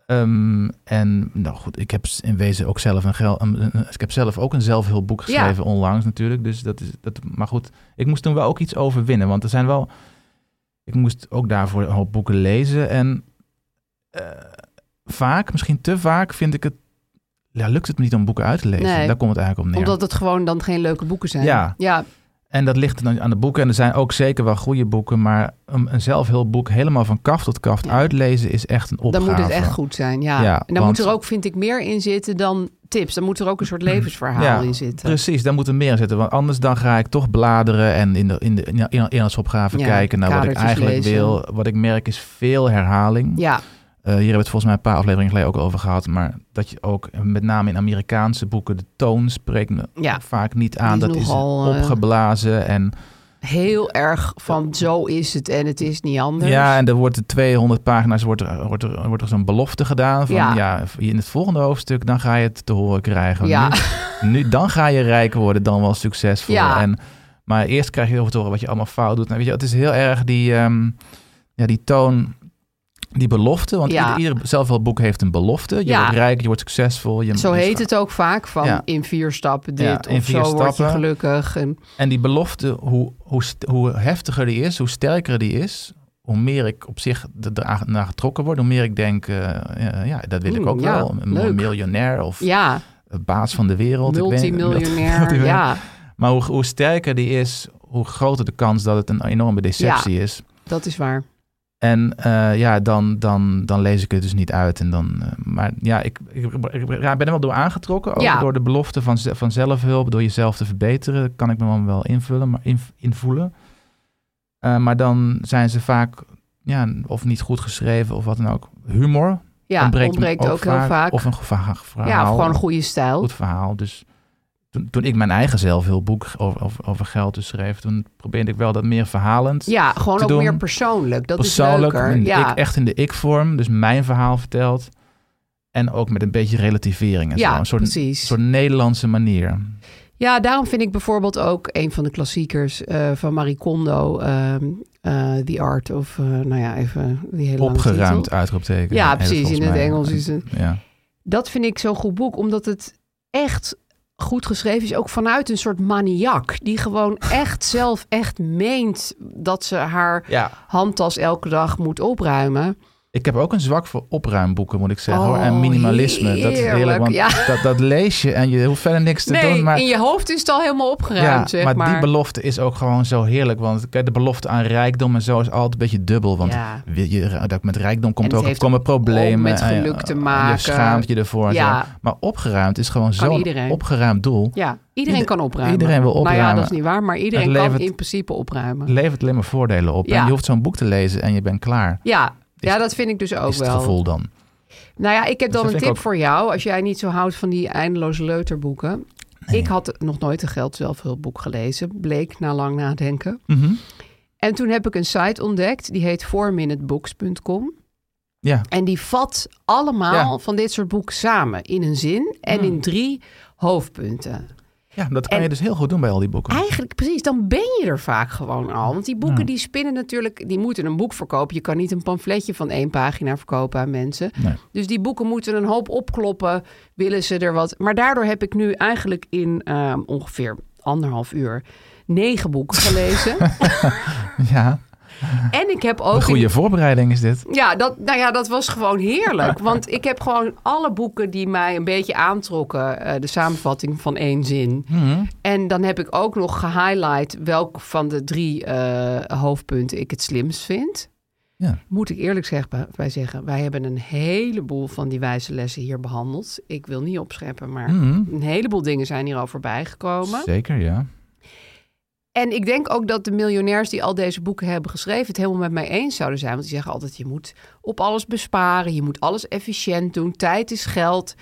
Ehm, en nou goed, ik heb s- in wezen ook zelf een, gel- een- een- een- ik heb zelf ook een zelfhulpboek Ja. geschreven onlangs natuurlijk. Dus dat is, dat, maar goed, ik moest toen wel ook iets overwinnen. Want er zijn wel, ik moest ook daarvoor een hoop boeken lezen. En eh, vaak, misschien te vaak, vind ik het, ja, lukt het me niet om boeken uit te lezen. Nee. Daar komt het eigenlijk op neer. Omdat het gewoon dan geen leuke boeken zijn. Ja. ja. En dat ligt dan aan de boeken. En er zijn ook zeker wel goede boeken. Maar een, een zelfhulpboek helemaal van kaf tot kaft Ja. uitlezen is echt een opgave. Dan moet het echt goed zijn, ja. Ja, en dan want- moet er ook, vind ik, meer in zitten dan tips. Dan moet er ook een soort levensverhaal Ja, in zitten. Precies, daar moet er meer in zitten. Want anders dan ga ik toch bladeren en in de in de in- in- inhoudsopgave Ja, kijken naar wat ik kadertjes eigenlijk lezen. wil. Wat ik merk is veel herhaling. Ja, Eh, hier hebben we het volgens mij een paar afleveringen geleden ook over gehad. Maar dat je ook, eh, met name in Amerikaanse boeken, de toon spreekt me ja, vaak niet aan. Die is dat is nogal, eh, opgeblazen en heel erg van zo is het en het is niet anders. Ja, en er wordt er 200 pagina's wordt er, wordt er, wordt er zo'n belofte gedaan van ja. Ja. in het volgende hoofdstuk dan ga je het te horen krijgen. Ja. Nu, nu dan ga je rijk worden, dan wel succesvol. Ja. En, maar eerst krijg je over te horen wat je allemaal fout doet. Nou, weet je, het is heel erg die, ehm, ja, die toon, die belofte. Want Ja. ieder, ieder zelfhulpboek heeft een belofte. Je Ja. wordt rijk, je wordt succesvol. Je zo je- heet het ook vaak, van Ja. in vier stappen dit Ja, in of vier zo word je stappen. gelukkig. En, En die belofte, hoe, hoe, st- hoe heftiger die is, hoe sterker die is, hoe meer ik op zich de- de- naar getrokken word, hoe meer ik denk, eh, ja, ja, dat wil ik Mm, ook ja, wel. Een leuk. miljonair of ja, baas van de wereld. ik weet- multimiljonair, multimiljonair. ja, Maar hoe, hoe sterker die is, hoe groter de kans dat het een enorme deceptie is. dat is waar. En eh, ja, dan, dan, dan lees ik het dus niet uit. En dan, eh, maar ja, ik, ik, ik- ja, ik ben er wel door aangetrokken. Ook Ja. door de belofte van, ze- van zelfhulp, door jezelf te verbeteren. Kan ik me dan wel invullen, maar inv- invoelen. Eh, maar dan zijn ze vaak ja, of niet goed geschreven of wat dan ook. Humor Ja, ontbreekt, ontbreekt, me ook, heel vaak. Of een geva- verhaal. ja, of gewoon een goede stijl. goed verhaal. Dus toen, toen ik mijn eigen zelfhulpboek over, over, over geld dus schreef... toen probeerde ik wel dat meer verhalend Ja, gewoon te ook doen. meer persoonlijk. Dat persoonlijk, is in leuker. de Ja. ik, echt in de ik-vorm, dus mijn verhaal verteld. En ook met een beetje relativering en zo. ja, Een soort, precies. soort Nederlandse manier. Ja, daarom vind ik bijvoorbeeld ook een van de klassiekers eh, van Marie Kondo, ehm, eh, The Art of, eh, nou ja, even die hele lange Opgeruimd titel. uitroepteken. Ja, heet precies. volgens In het mij. Engels is het. Ja. Dat vind ik zo'n goed boek, omdat het echt goed geschreven is. Ook vanuit een soort maniak, die gewoon echt zelf echt meent dat ze haar ja, handtas elke dag moet opruimen. ik heb ook een zwak voor opruimboeken, moet ik zeggen. hoor. Oh, En minimalisme, dat is heerlijk. heerlijk, Want ja. dat, dat lees je en je hoeft verder niks te Nee, doen. Maar, in je hoofd is het al helemaal opgeruimd, ja, zeg maar, maar. die belofte is ook gewoon zo heerlijk. Want kijk, de belofte aan rijkdom en zo is altijd een beetje dubbel. Want Ja. wil je, dat met rijkdom komt En het ook, heeft komen problemen. ook met en je- geluk te en Je maken. schaamt je ervoor. en zo. Ja. Maar opgeruimd is gewoon Kan zo'n iedereen. opgeruimd doel. Ja, iedereen Ieder- kan opruimen. iedereen wil Nou ja, opruimen. dat is niet waar, maar iedereen Het levert- kan in principe opruimen. Levert alleen maar voordelen op. Ja. En je hoeft zo'n boek te lezen en je bent klaar. Ja, ja, Is- dat vind ik dus ook is het wel. gevoel dan. Nou ja, ik heb dat dan een vind ik tip ook- voor jou. Als jij niet zo houdt van die eindeloze leuterboeken. Nee. Ik had nog nooit een geld zelfhulpboek gelezen. Bleek na lang nadenken. Mhm. En toen heb ik een site ontdekt. Die heet fourminutebooks.com. Ja. En die vat allemaal Ja. Hmm. van dit soort boeken samen. In een zin en in drie hoofdpunten. ja, dat kan En- je dus heel goed doen bij al die boeken. Eigenlijk precies, dan ben je er vaak gewoon al. Want die boeken die spinnen natuurlijk, die moeten een boek verkopen. Je kan niet een pamfletje van één pagina verkopen aan mensen. Nee. Dus die boeken moeten een hoop opkloppen, willen ze er wat. Maar daardoor heb ik nu eigenlijk in ehm, ongeveer anderhalf uur negen boeken gelezen. Ja, en ik heb ook een in- goede voorbereiding is dit. ja, dat, nou ja, dat was gewoon heerlijk. Want ik heb gewoon alle boeken die mij een beetje aantrokken. eh, de samenvatting van één zin. Mhm. En dan heb ik ook nog gehighlight welk van de drie eh, hoofdpunten ik het slimst vind. Ja. Moet ik eerlijk zeg, bij zeggen, wij hebben een heleboel van die wijze lessen hier behandeld. Ik wil niet opscheppen, maar Mhm. een heleboel dingen zijn hier al voorbij gekomen. Zeker, ja. En ik denk ook dat de miljonairs die al deze boeken hebben geschreven het helemaal met mij eens zouden zijn. Want die zeggen altijd: je moet op alles besparen, je moet alles efficiënt doen, tijd is geld.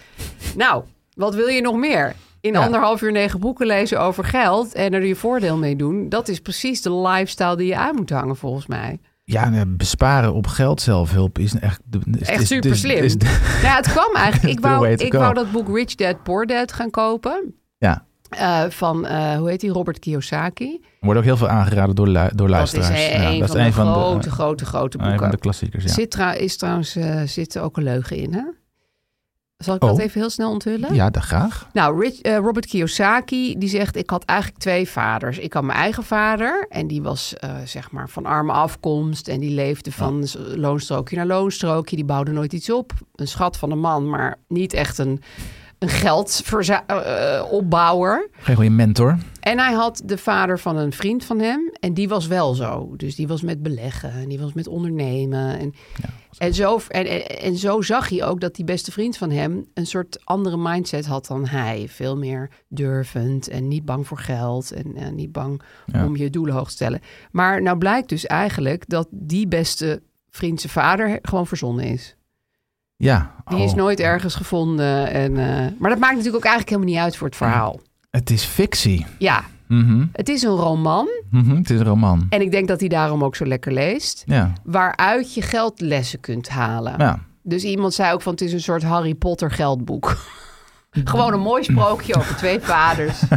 Nou, wat wil je nog meer? In Ja. anderhalf uur negen boeken lezen over geld en er je voordeel mee doen. Dat is precies de lifestyle die je aan moet hangen, volgens mij. Ja, nee, besparen op geld zelfhulp is echt... Is, Echt is- super slim. is- is- Nou ja, het kwam eigenlijk. Ik The wou, way to ik go. wou dat boek Rich Dad Poor Dad gaan kopen. ja, eh, van, eh, hoe heet die? Robert Kiyosaki. Wordt ook heel veel aangeraden door, lu- door Dat is eh, luisteraars. een, Ja, van, de grote, eh, grote, grote een van boeken. de klassiekers, ja. Zit tra- is trouwens eh, zit er ook een leugen in, hè? Zal ik Oh. dat even heel snel onthullen? Ja, dat graag. Nou, Rich- eh, Robert Kiyosaki die zegt: Ik had eigenlijk twee vaders. Ik had mijn eigen vader, en die was eh, zeg maar van arme afkomst. En die leefde van s- loonstrookje naar loonstrookje. Die bouwde nooit iets op. Een schat van een man, maar niet echt een, een eh, geldopbouwer. Geen goede mentor. En hij had de vader van een vriend van hem. En die was wel zo. Dus die was met beleggen. En die was met ondernemen. En, en, zo, en, en, en zo zag hij ook dat die beste vriend van hem... een soort andere mindset had dan hij. Veel meer durvend en niet bang voor geld. En, en niet bang Ja. om je doelen hoog te stellen. Maar nou blijkt dus eigenlijk dat die beste vriend zijn vader gewoon verzonnen is. Ja. Die oh. is nooit ergens gevonden. En, eh, maar dat maakt natuurlijk ook eigenlijk helemaal niet uit voor het verhaal. Het is fictie. Ja, Mhm, het is een roman... mhm, Het is een roman. En ik denk dat hij daarom ook zo lekker leest. Ja. Waaruit je geldlessen kunt halen. ja. Dus iemand zei ook van het is een soort Harry Potter geldboek. Gewoon een mooi sprookje over twee vaders.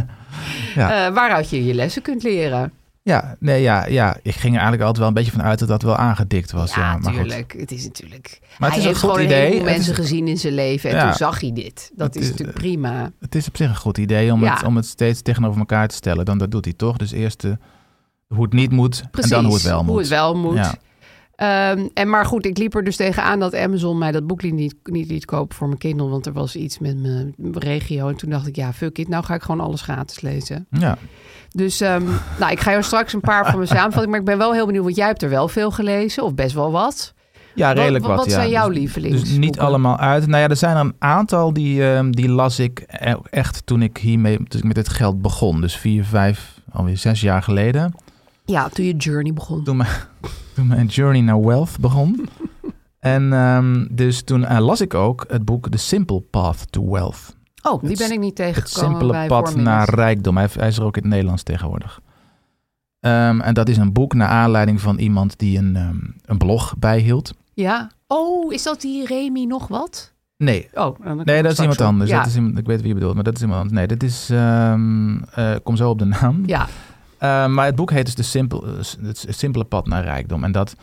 Ja. Eh, waaruit je je lessen kunt leren. Ja, nee, ja, ja, ik ging er eigenlijk altijd wel een beetje van uit dat dat wel aangedikt was. Ja, maar goed. natuurlijk. Het is natuurlijk. Maar het hij is een heeft goed gewoon idee. een heleboel Het mensen is- gezien in zijn leven. En Ja. toen zag hij dit. Dat Het is, is- natuurlijk prima. Het is op zich een goed idee om, Ja. het, om het steeds tegenover elkaar te stellen. Dan dat doet hij toch. Dus eerst de, hoe het niet moet Precies. en dan hoe het wel moet. Hoe het wel moet. Ja. Ehm, en maar goed, ik liep er dus tegenaan dat Amazon mij dat boek li- niet, niet liet kopen voor mijn Kindle. Want er was iets met mijn regio. En toen dacht ik, ja, fuck it. Nou ga ik gewoon alles gratis lezen. Ja. Dus ehm, nou, ik ga jou straks een paar van mijn samenvatting. Maar ik ben wel heel benieuwd, want jij hebt er wel veel gelezen. Of best wel wat. ja, redelijk wat- wat. wat ja. zijn jouw Dus- lievelingsboeken? Dus niet allemaal uit. Nou ja, er zijn er een aantal die, ehm, die las ik e- echt toen ik hiermee toen ik met dit geld begon. Dus vier, vijf, alweer zes jaar geleden. Ja, toen je Journey begon. Toen mijn, toen mijn journey naar wealth begon. en ehm, dus toen eh, las ik ook het boek The Simple Path to Wealth. Oh, die het- ben ik niet Het tegengekomen simpele bij pad Voormiddags. naar rijkdom. Hij, heeft- hij is er ook in het Nederlands tegenwoordig. Ehm, en dat is een boek naar aanleiding van iemand die een, ehm, een blog bijhield. Ja. Oh, is dat die Remy nog wat? Nee, Oh, dan kom ik nee dat straks is iemand op. anders. Ja. Dat is iemand, ik weet wie je bedoelt, maar dat is iemand anders. Nee, dit is... ehm, eh, ik kom zo op de naam. ja. Eh, maar het boek heet dus de simpel, eh, s- Het Simpele Pad naar Rijkdom. En dat,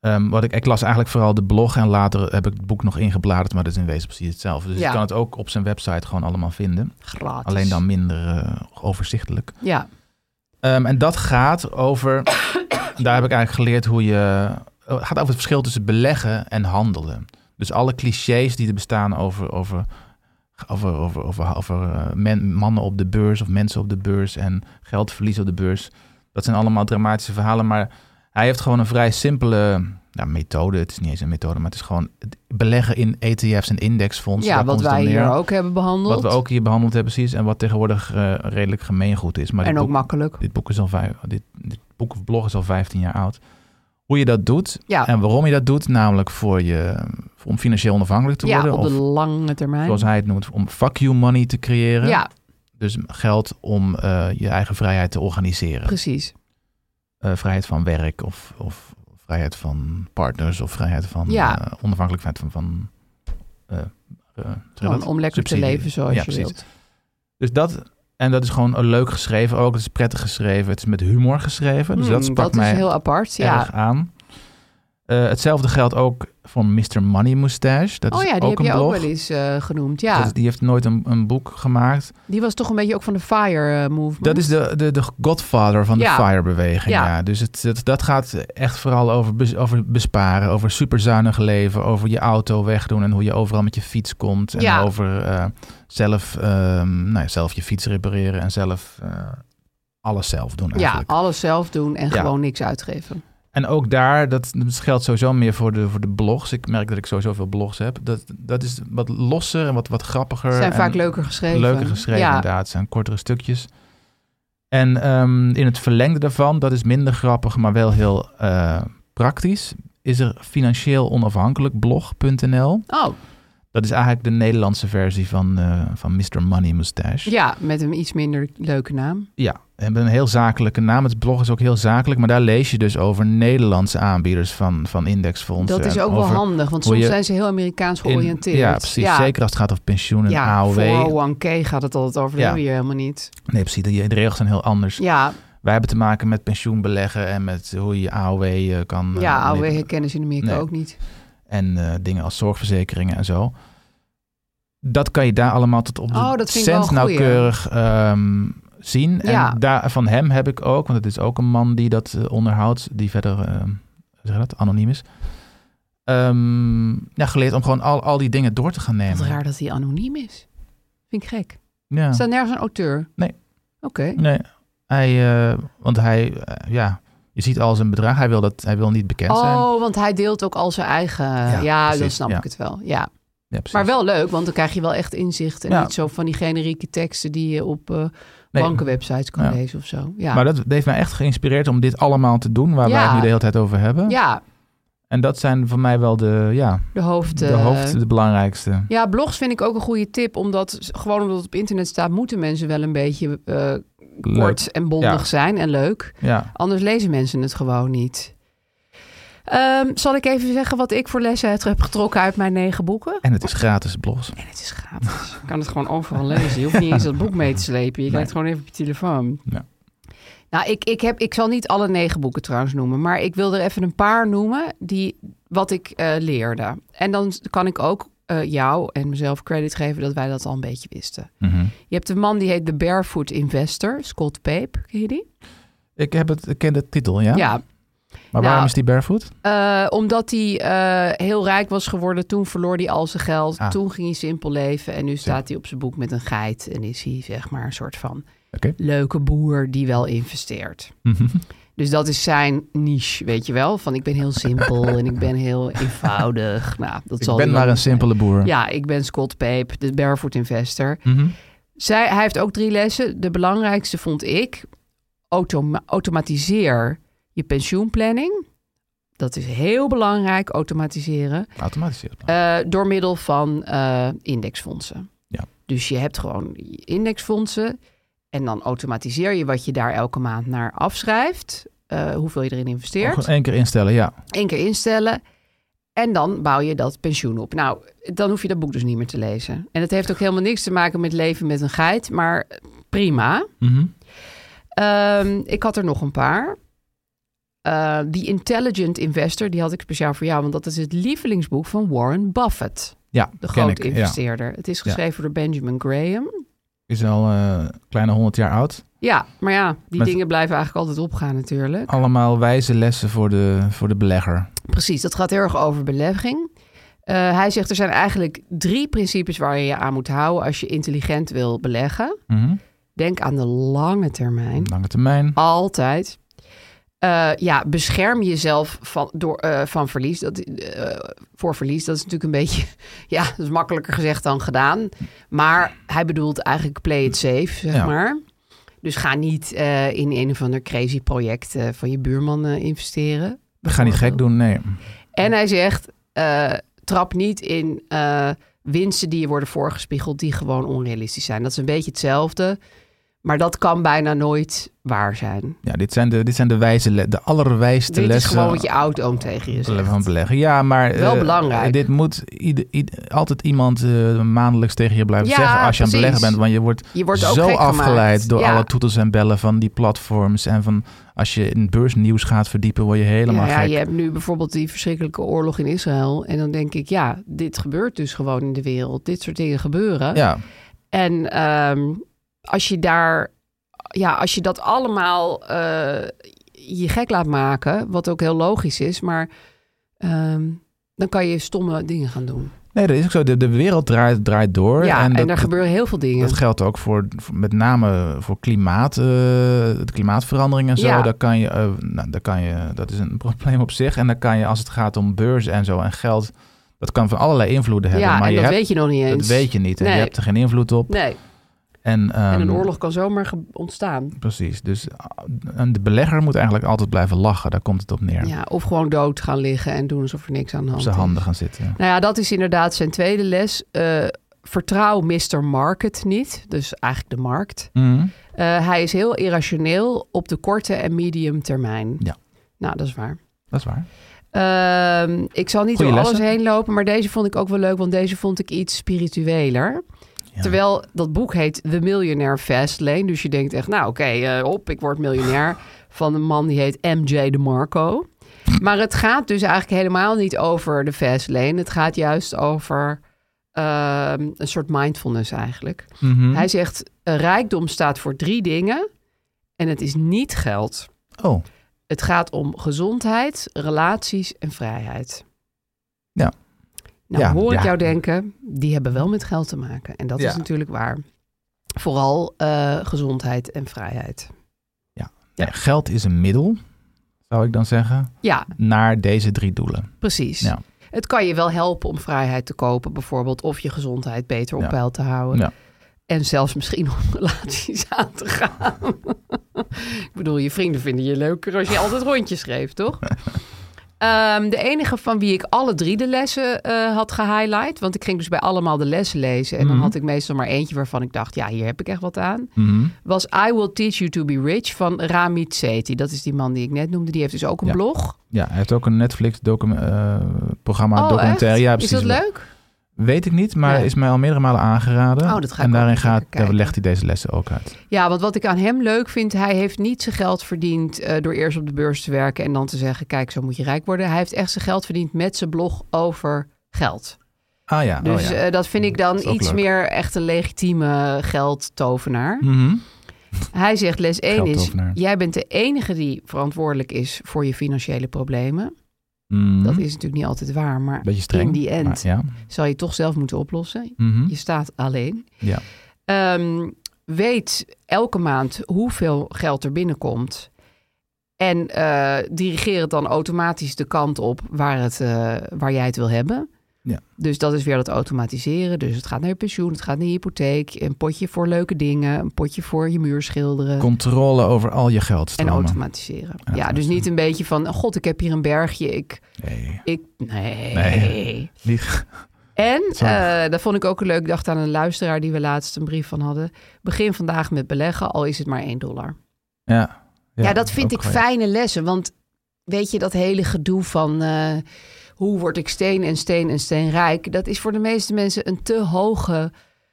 ehm, wat ik, ik las eigenlijk vooral de blog en later heb ik het boek nog ingebladerd, maar dat is in wezen precies hetzelfde. Dus Ja. je kan het ook op zijn website gewoon allemaal vinden. gratis. Alleen dan minder eh, overzichtelijk. Ja. Ehm, en dat gaat over, daar heb ik eigenlijk geleerd hoe je, eh, het gaat over het verschil tussen beleggen en handelen. Dus alle clichés die er bestaan over, over, over, over, over, over eh, men- mannen op de beurs of mensen op de beurs en geldverlies op de beurs. Dat zijn allemaal dramatische verhalen, maar hij heeft gewoon een vrij simpele ja, methode. Het is niet eens een methode, maar het is gewoon het beleggen in ETF's en indexfondsen. ja, daar wat komt het wij op neer. hier ook hebben behandeld. Wat we ook hier behandeld hebben, precies. En wat tegenwoordig eh, redelijk gemeengoed is. Maar en dit ook boek- makkelijk. dit boek is al vijf, dit, dit boek of blog is al 15 jaar oud. Hoe je dat doet Ja, en waarom je dat doet, namelijk voor je, om financieel onafhankelijk te ja worden. op de of lange termijn. zoals hij het noemt, om fuck you money te creëren. ja, Dus geld om eh, je eigen vrijheid te organiseren. precies. Eh, vrijheid van werk of, of vrijheid van partners of vrijheid van Ja. eh, onafhankelijkheid van. van eh, eh, zeg je Gewoon dat? om lekker Subsidie. te leven zoals Ja, je precies. wilt. Dus dat, en dat is gewoon leuk geschreven ook. Het is prettig geschreven. Het is met humor geschreven. Dus dat Hmm, sprak mij is heel apart. erg Ja. aan. Eh, hetzelfde geldt ook voor Mr. Money Moustache. Dat Oh is ja, die ook heb je een blog. ook wel eens eh, genoemd. Ja, Dat is- die heeft nooit een, een boek gemaakt. die was toch een beetje ook van de fire eh, movement. Dat is de, de, de godfather van de Ja. FIRE-beweging. Ja. Ja. Dus het, het- dat gaat echt vooral over, bes- over besparen, over superzuinig leven, over je auto wegdoen en hoe je overal met je fiets komt. En Ja. over eh, zelf, ehm, nou ja, zelf je fiets repareren en zelf eh, alles zelf doen ja, eigenlijk. alles zelf doen en Ja. gewoon niks uitgeven. En ook daar, dat, dat geldt sowieso meer voor de, voor de blogs. Ik merk dat ik sowieso veel blogs heb. Dat, dat is wat losser en wat, wat grappiger. Zijn en vaak leuker geschreven. Leuker geschreven, Ja, inderdaad. Het zijn kortere stukjes. En ehm, in het verlengde daarvan, dat is minder grappig, maar wel heel eh, praktisch, is er financieel onafhankelijk blog.nl. Oh, Dat is eigenlijk de Nederlandse versie van, eh, van Mr. Money Mustache. ja, met een iets minder leuke naam. Ja, hebben een heel zakelijke naam. Het blog is ook heel zakelijk, maar daar lees je dus over Nederlandse aanbieders van, van indexfondsen. Dat is en ook wel over handig, want hoe soms je zijn ze heel Amerikaans in- georiënteerd. ja, precies. Zeker als het gaat over pensioen en Ja, AOW. voor 1K gaat het altijd over, dat Ja. doe je helemaal niet. Nee, precies. De, de regels zijn heel anders. Ja, Wij hebben te maken met pensioenbeleggen en met hoe je AOW eh, kan... eh, ja, AOW leveren. herkennen ze in Amerika Nee. ook niet. En eh, dingen als zorgverzekeringen en zo. Dat kan je daar allemaal tot op de Oh, dat vind ik wel cent een goeie. nauwkeurig ehm, zien. Ja. En daar, van hem heb ik ook, want het is ook een man die dat eh, onderhoudt, die verder ehm, hoe zeg je dat, anoniem is. Ehm, ja, geleerd om gewoon al, al die dingen door te gaan Wat nemen. raar dat hij anoniem is. Vind ik gek. Ja. Is daar nergens een auteur? Nee. Oké. Nee, hij, eh, want hij, eh, ja, je ziet al zijn bedrag. Hij wil, dat, hij wil niet bekend zijn. Oh, want hij deelt ook al zijn eigen... Ja, dan precies, snap ja. ik het wel. Ja. Ja, precies. Maar wel leuk, want dan krijg je wel echt inzicht. En Ja. niet zo van die generieke teksten die je op eh, Nee. bankenwebsites kan Ja. lezen of zo. Ja. Maar dat heeft mij echt geïnspireerd om dit allemaal te doen, waar wij Ja. het nu de hele tijd over hebben. ja, En dat zijn voor mij wel de, ja, de hoofd... de eh, hoofd, de belangrijkste. Ja, blogs vind ik ook een goede tip. Omdat, gewoon omdat het op internet staat, moeten mensen wel een beetje eh, kort en bondig Ja. zijn en leuk. Ja. Anders lezen mensen het gewoon niet. Ehm, zal ik even zeggen wat ik voor lessen uit heb getrokken uit mijn negen boeken? En het is gratis blogs. En het is gratis. Je kan het gewoon overal lezen. Je hoeft niet eens dat boek mee te slepen. Je kijkt gewoon even op je telefoon. Ja. Nou, ik, ik, heb, ik zal niet alle negen boeken trouwens noemen. Maar ik wil er even een paar noemen die, wat ik eh, leerde. En dan kan ik ook eh, jou en mezelf credit geven dat wij dat al een beetje wisten. Mhm. Je hebt een man die heet de Barefoot Investor, Scott Pape. Ken je die? Ik, heb het, ik ken de titel, ja. ja maar nou- waarom is die barefoot? Eh, omdat hij eh, heel rijk was geworden, toen verloor hij al zijn geld. Ah. Toen ging hij simpel leven en nu staat Zeker. hij op zijn boek met een geit. En is hij zeg maar een soort van Oké. leuke boer die wel investeert. Mhm. Dus dat is zijn niche, weet je wel. Van ik ben heel simpel en ik ben heel eenvoudig. Nou, dat Ik zal ben hij maar wel een niet zijn. simpele boer. Ja, ik ben Scott Pape, de barefoot investor. Mhm. Zij, hij heeft ook drie lessen. De belangrijkste vond ik: automa- automatiseer je pensioenplanning. Dat is heel belangrijk, automatiseren. Automatisch. ja. eh, door middel van eh, indexfondsen. Ja. Dus je hebt gewoon je indexfondsen. En dan automatiseer je wat je daar elke maand naar afschrijft. eh, hoeveel je erin Gewoon investeert. één keer instellen, ja. Eén keer instellen. En dan bouw je dat pensioen op. Nou, dan hoef je dat boek dus niet meer te lezen. En het heeft ook helemaal niks te maken met leven met een geit. Maar prima. Mhm. Ehm, ik had er nog een paar. Eh, The Intelligent Investor, die had ik speciaal voor jou, want dat is het lievelingsboek van Warren Buffett, Ja, de ken grote ik. Ja. investeerder. Het is geschreven door Benjamin Graham. Is al eh, een kleine honderd jaar oud. Ja, maar ja, die Met- dingen blijven eigenlijk altijd opgaan natuurlijk. Allemaal wijze lessen voor de, voor de belegger. Precies, dat gaat heel erg over belegging. Eh, hij zegt er zijn eigenlijk drie principes waar je je aan moet houden als je intelligent wil beleggen. Mhm. Denk aan de lange termijn. Lange termijn. Altijd. Eh, ja, bescherm jezelf van, door, eh, van verlies. Dat, eh, voor verlies, dat is natuurlijk een beetje... Ja, dat is makkelijker gezegd dan gedaan. Maar hij bedoelt eigenlijk play it safe, zeg Ja. maar. Dus ga niet eh, in een of ander crazy project eh, van je buurman eh, investeren. We gaan niet gek doen, nee. En hij zegt, eh, trap niet in eh, winsten die je worden voorgespiegeld... die gewoon onrealistisch zijn. Dat is een beetje hetzelfde. Maar dat kan bijna nooit waar zijn. Ja, dit zijn de, dit zijn de wijze, le- de eh, allerwijste Dit is lessen. gewoon wat je oud-oom tegen je zegt. van beleggen. Ja, maar Wel eh, belangrijk. Dit moet ieder, ieder- altijd iemand eh, maandelijks tegen je blijven Ja, zeggen als je aan het precies. beleggen bent, want je wordt, Je wordt ook zo gek afgeleid gemaakt. door Ja. alle toeters en bellen van die platforms en van als je in beursnieuws gaat verdiepen, word je helemaal ja, ja, gek. je hebt nu bijvoorbeeld die verschrikkelijke oorlog in Israël. En dan denk ik, ja, dit gebeurt dus gewoon in de wereld. Dit soort dingen gebeuren. Ja, En ehm, als je daar, ja, als je dat allemaal eh, je gek laat maken, wat ook heel logisch is, maar ehm, dan kan je stomme dingen gaan doen. nee, dat is ook zo. De, de wereld draait, draait door. ja, en, dat, daar gebeuren heel veel dingen. dat geldt ook voor, voor- met name voor klimaat, eh, de klimaatverandering en zo. Ja. Daar kan je, eh, nou, daar kan je, dat is een probleem op zich. En dan kan je, als het gaat om beurs en zo en geld, dat kan van allerlei invloeden hebben. ja, maar en je dat hebt, weet je nog niet eens. Dat weet je niet. En Nee. je hebt er geen invloed op. Nee, En, en een ehm, oorlog kan zomaar ge- ontstaan. Precies. Dus ah, en de belegger moet eigenlijk altijd blijven lachen. Daar komt het op neer. Ja, of gewoon dood gaan liggen en doen alsof er niks aan de op hand zijn is. handen gaan zitten. Nou ja, dat is inderdaad zijn tweede les. Eh, vertrouw Mr. Market niet, dus eigenlijk de markt. Mhm. Eh, hij is heel irrationeel op de korte en medium termijn. Ja. Nou, dat is waar. Dat is waar. Ehm, ik zal niet Goeie door lessen. alles heen lopen, maar deze vond ik ook wel leuk, want deze vond ik iets spiritueler. Ja. Terwijl dat boek heet The Millionaire Fastlane. Dus je denkt echt, nou oké, eh, op, ik word miljonair. Van een man die heet MJ DeMarco. Maar het gaat dus eigenlijk helemaal niet over de Fastlane. Het gaat juist over ehm, een soort mindfulness eigenlijk. Mhm. Hij zegt, eh, rijkdom staat voor drie dingen. En het is niet geld. Oh, Het gaat om gezondheid, relaties en vrijheid. Ja. Nou Ja, hoor ik ja. jou denken, die hebben wel met geld te maken. En dat Ja. is natuurlijk waar. Vooral eh, gezondheid en vrijheid. nee, geld is een middel, zou ik dan zeggen, Ja, naar deze drie doelen. precies. Ja. Het kan je wel helpen om vrijheid te kopen bijvoorbeeld. Of je gezondheid beter op Ja. peil te houden. Ja. En zelfs misschien om relaties aan te gaan. ik bedoel, je vrienden vinden je leuker als je altijd rondjes schreef, toch? Ehm, de enige van wie ik alle drie de lessen eh, had gehighlight. Want ik ging dus bij allemaal de lessen lezen. En dan Mhm. had ik meestal maar eentje waarvan ik dacht, ja, hier heb ik echt wat aan. Mhm. Was I Will Teach You To Be Rich van Ramit Sethi. Dat is die man die ik net noemde. Die heeft dus ook een Ja. blog. Ja, hij heeft ook een Netflix-programma, oh, documentaire. echt? Ja, is precies. dat leuk? Weet ik niet, maar Ja. is mij al meerdere malen aangeraden. Oh, dat ga ik en ook daarin eens even gaat, daar kijken. legt hij deze lessen ook uit. Ja, want wat ik aan hem leuk vind, hij heeft niet zijn geld verdiend eh, door eerst op de beurs te werken en dan te zeggen, kijk, zo moet je rijk worden. Hij heeft echt zijn geld verdiend met zijn blog over geld. Ah ja, Dus oh, ja. eh, dat vind ik dan Dat is ook iets leuk. meer echt een legitieme geldtovenaar. Mhm. Hij zegt les 1 eh, is, Geldtovenaar. jij bent de enige die verantwoordelijk is voor je financiële problemen. Mhm. Dat is natuurlijk niet altijd waar, maar Beetje streng. in die end maar ja. zal je toch zelf moeten oplossen. Mhm. Je staat alleen. ja. Ehm, weet elke maand hoeveel geld er binnenkomt. En eh dirigeer het dan automatisch de kant op waar, het, eh, waar jij het wil hebben. Ja. Dus dat is weer dat automatiseren. Dus het gaat naar je pensioen, het gaat naar je hypotheek. Een potje voor leuke dingen, een potje voor je muur schilderen. Controle over al je en geldstromen. automatiseren. Ja, dus automatiseren. niet een beetje van... God, ik heb hier een bergje, ik... Nee. ik nee. Nee. Die- En Zo. eh, dat vond ik ook leuk. Ik dacht aan een luisteraar die we laatst een brief van hadden. Begin vandaag met beleggen, al is het maar 1 dollar. Ja. Ja, dat vind ook ik wel, ja. fijne lessen. Want weet je, dat hele gedoe van eh, hoe word ik steen en steen en steenrijk... dat is voor de meeste mensen een te hoge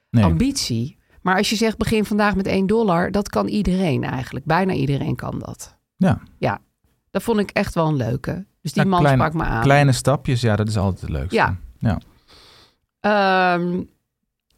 Nee. ambitie. Maar als je zegt begin vandaag met 1 dollar... dat kan iedereen eigenlijk. Bijna iedereen kan dat. Ja. Ja, dat vond ik echt wel een leuke. Dus die Ja, man kleine- sprak me aan. Kleine stapjes, ja, dat is altijd het leukste. Ja. ja. Ehm,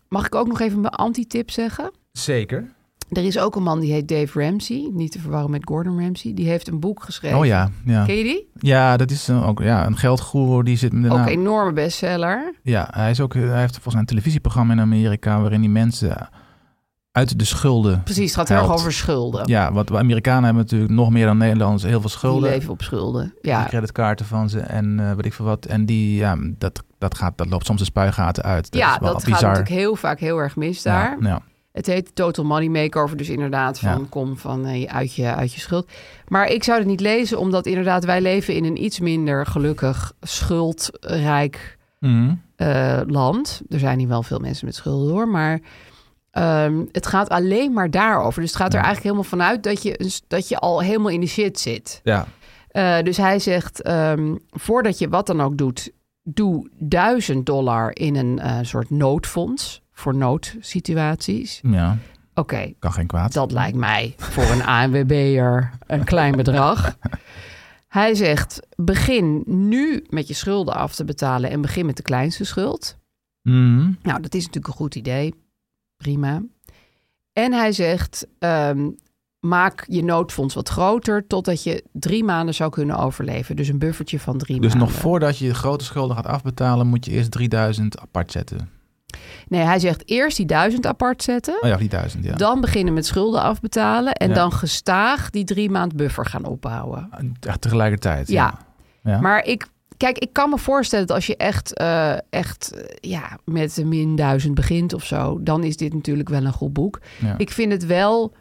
mag ik ook nog even mijn anti-tip zeggen? Zeker. Er is ook een man die heet Dave Ramsey, niet te verwarren met Gordon Ramsay. Die heeft een boek geschreven. Oh ja, ja. Ken je die? Ja, dat is eh, ook ja, een geldgoeroe die zit met de Ook naam. een enorme bestseller. Ja, hij, is ook, hij heeft volgens mij een televisieprogramma in Amerika waarin die mensen uit de schulden. Precies, het gaat heel erg Helpt. over schulden. Ja, wat we Amerikanen hebben natuurlijk nog meer dan Nederlanders heel veel Die schulden. leven op schulden. Die Ja, creditkaarten van ze en eh weet ik veel wat. En die, ja, dat, dat, gaat, dat loopt soms de spuigaten uit. Dat ja is wel dat gaat bizar. natuurlijk heel vaak heel erg mis daar. Ja, ja. Het heet Total Money Makeover, dus inderdaad van Ja. kom van eh, uit, je, uit je schuld. Maar ik zou het niet lezen, omdat inderdaad wij leven in een iets minder gelukkig schuldrijk Mhm. eh, land. Er zijn hier wel veel mensen met schulden hoor, maar ehm, het gaat alleen maar daarover. Dus het gaat er Ja. eigenlijk helemaal vanuit dat je, dat je al helemaal in de shit zit. ja. Eh, dus hij zegt, ehm, voordat je wat dan ook doet, doe 1000 dollar in een eh, soort noodfonds voor noodsituaties. ja, Oké, kan geen kwaad. dat lijkt mij voor een ANWB'er een klein bedrag. Hij zegt, begin nu met je schulden af te betalen en begin met de kleinste schuld. Mhm. Nou, dat is natuurlijk een goed idee. Prima. En hij zegt: ehm, maak je noodfonds wat groter, totdat je drie maanden zou kunnen overleven. Dus een buffertje van drie Dus nog maanden. voordat je de grote schulden gaat afbetalen, moet je eerst 3000 apart zetten. Nee, hij zegt eerst die duizend apart zetten. Oh ja, die 1000, ja. Dan beginnen met schulden afbetalen. En Ja. dan gestaag die drie maand buffer gaan opbouwen. Ja, tegelijkertijd. Ja. Ja. Maar ik, kijk, ik kan me voorstellen dat als je echt, eh, echt eh, ja, met een min duizend begint of zo, dan is dit natuurlijk wel een goed boek. Ja. Ik vind het wel,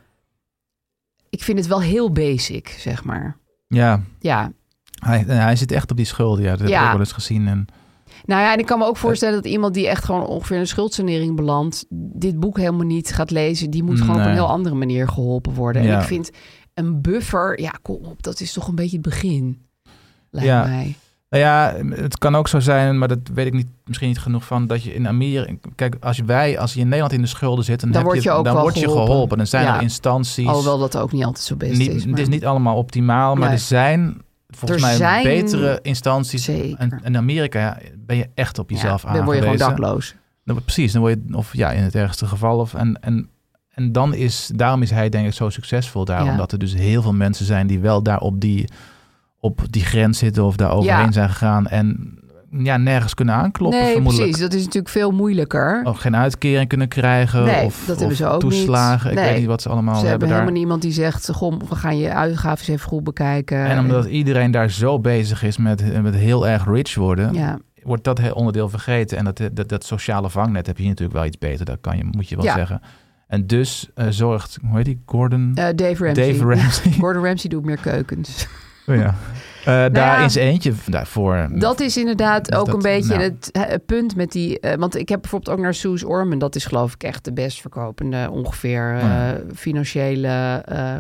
ik vind het wel heel basic, zeg maar. ja. Ja. Hij, en hij zit echt op die schulden, ja. Dat heb Ja. ik ook wel eens gezien. En, Nou ja, en ik kan me ook voorstellen dat iemand die echt gewoon ongeveer in een schuldsanering belandt, dit boek helemaal niet gaat lezen. Die moet gewoon op een Nee. heel andere manier geholpen worden. En Ja. ik vind een buffer, ja, kom op, dat is toch een beetje het begin. Lijkt Ja. mij. Nou ja, het kan ook zo zijn, maar dat weet ik niet, misschien niet genoeg van, dat je in Amerika... Kijk, als wij, als je in Nederland in de schulden zit, dan, Dan heb word je ook dan wel word je geholpen. geholpen. Dan zijn Ja. er instanties. Alhoewel dat ook niet altijd zo best niet, is. Het maar- is niet allemaal optimaal, maar Nee. er zijn volgens Er mij zijn- betere instanties. Zeker. En in Amerika ben je echt op Ja, jezelf Dan word je gewoon aangewezen. dakloos. Dan word- precies, dan word je, of ja, in het ergste geval. Of, en, en, en dan is, daarom is hij denk ik zo succesvol daar. Ja. Omdat er dus heel veel mensen zijn die wel daar op die, op die grens zitten of daar overheen Ja. zijn gegaan. En ja, nergens kunnen aankloppen nee, vermoedelijk. Oh, precies. Dat is natuurlijk veel moeilijker. Of geen uitkering kunnen krijgen. Nee, of, dat hebben of ze ook niet. toeslagen. Ik Nee. weet niet wat ze allemaal Ze hebben hebben daar. helemaal niemand die zegt, goh, we gaan je uitgaven eens even goed bekijken. En omdat iedereen daar zo bezig is met, met heel erg rich worden, Ja, wordt dat heel onderdeel vergeten. En dat, eh, dat, dat sociale vangnet heb je hier natuurlijk wel iets beter. Dat kan je, moet je wel Ja. zeggen. En dus eh, zorgt, hoe heet die, Gordon? Eh, Dave Ramsey. Dave Ramsey. Gordon Ramsay doet meer keukens. Oh ja. Eh, daar Nou ja. is eentje v- daarvoor. Dat is inderdaad Dus ook dat- een beetje nou. het eh, punt met die... eh, want ik heb bijvoorbeeld ook naar Suze Orman. Dat is geloof ik echt de best verkopende ongeveer eh, Oh, Ja. financiële... eh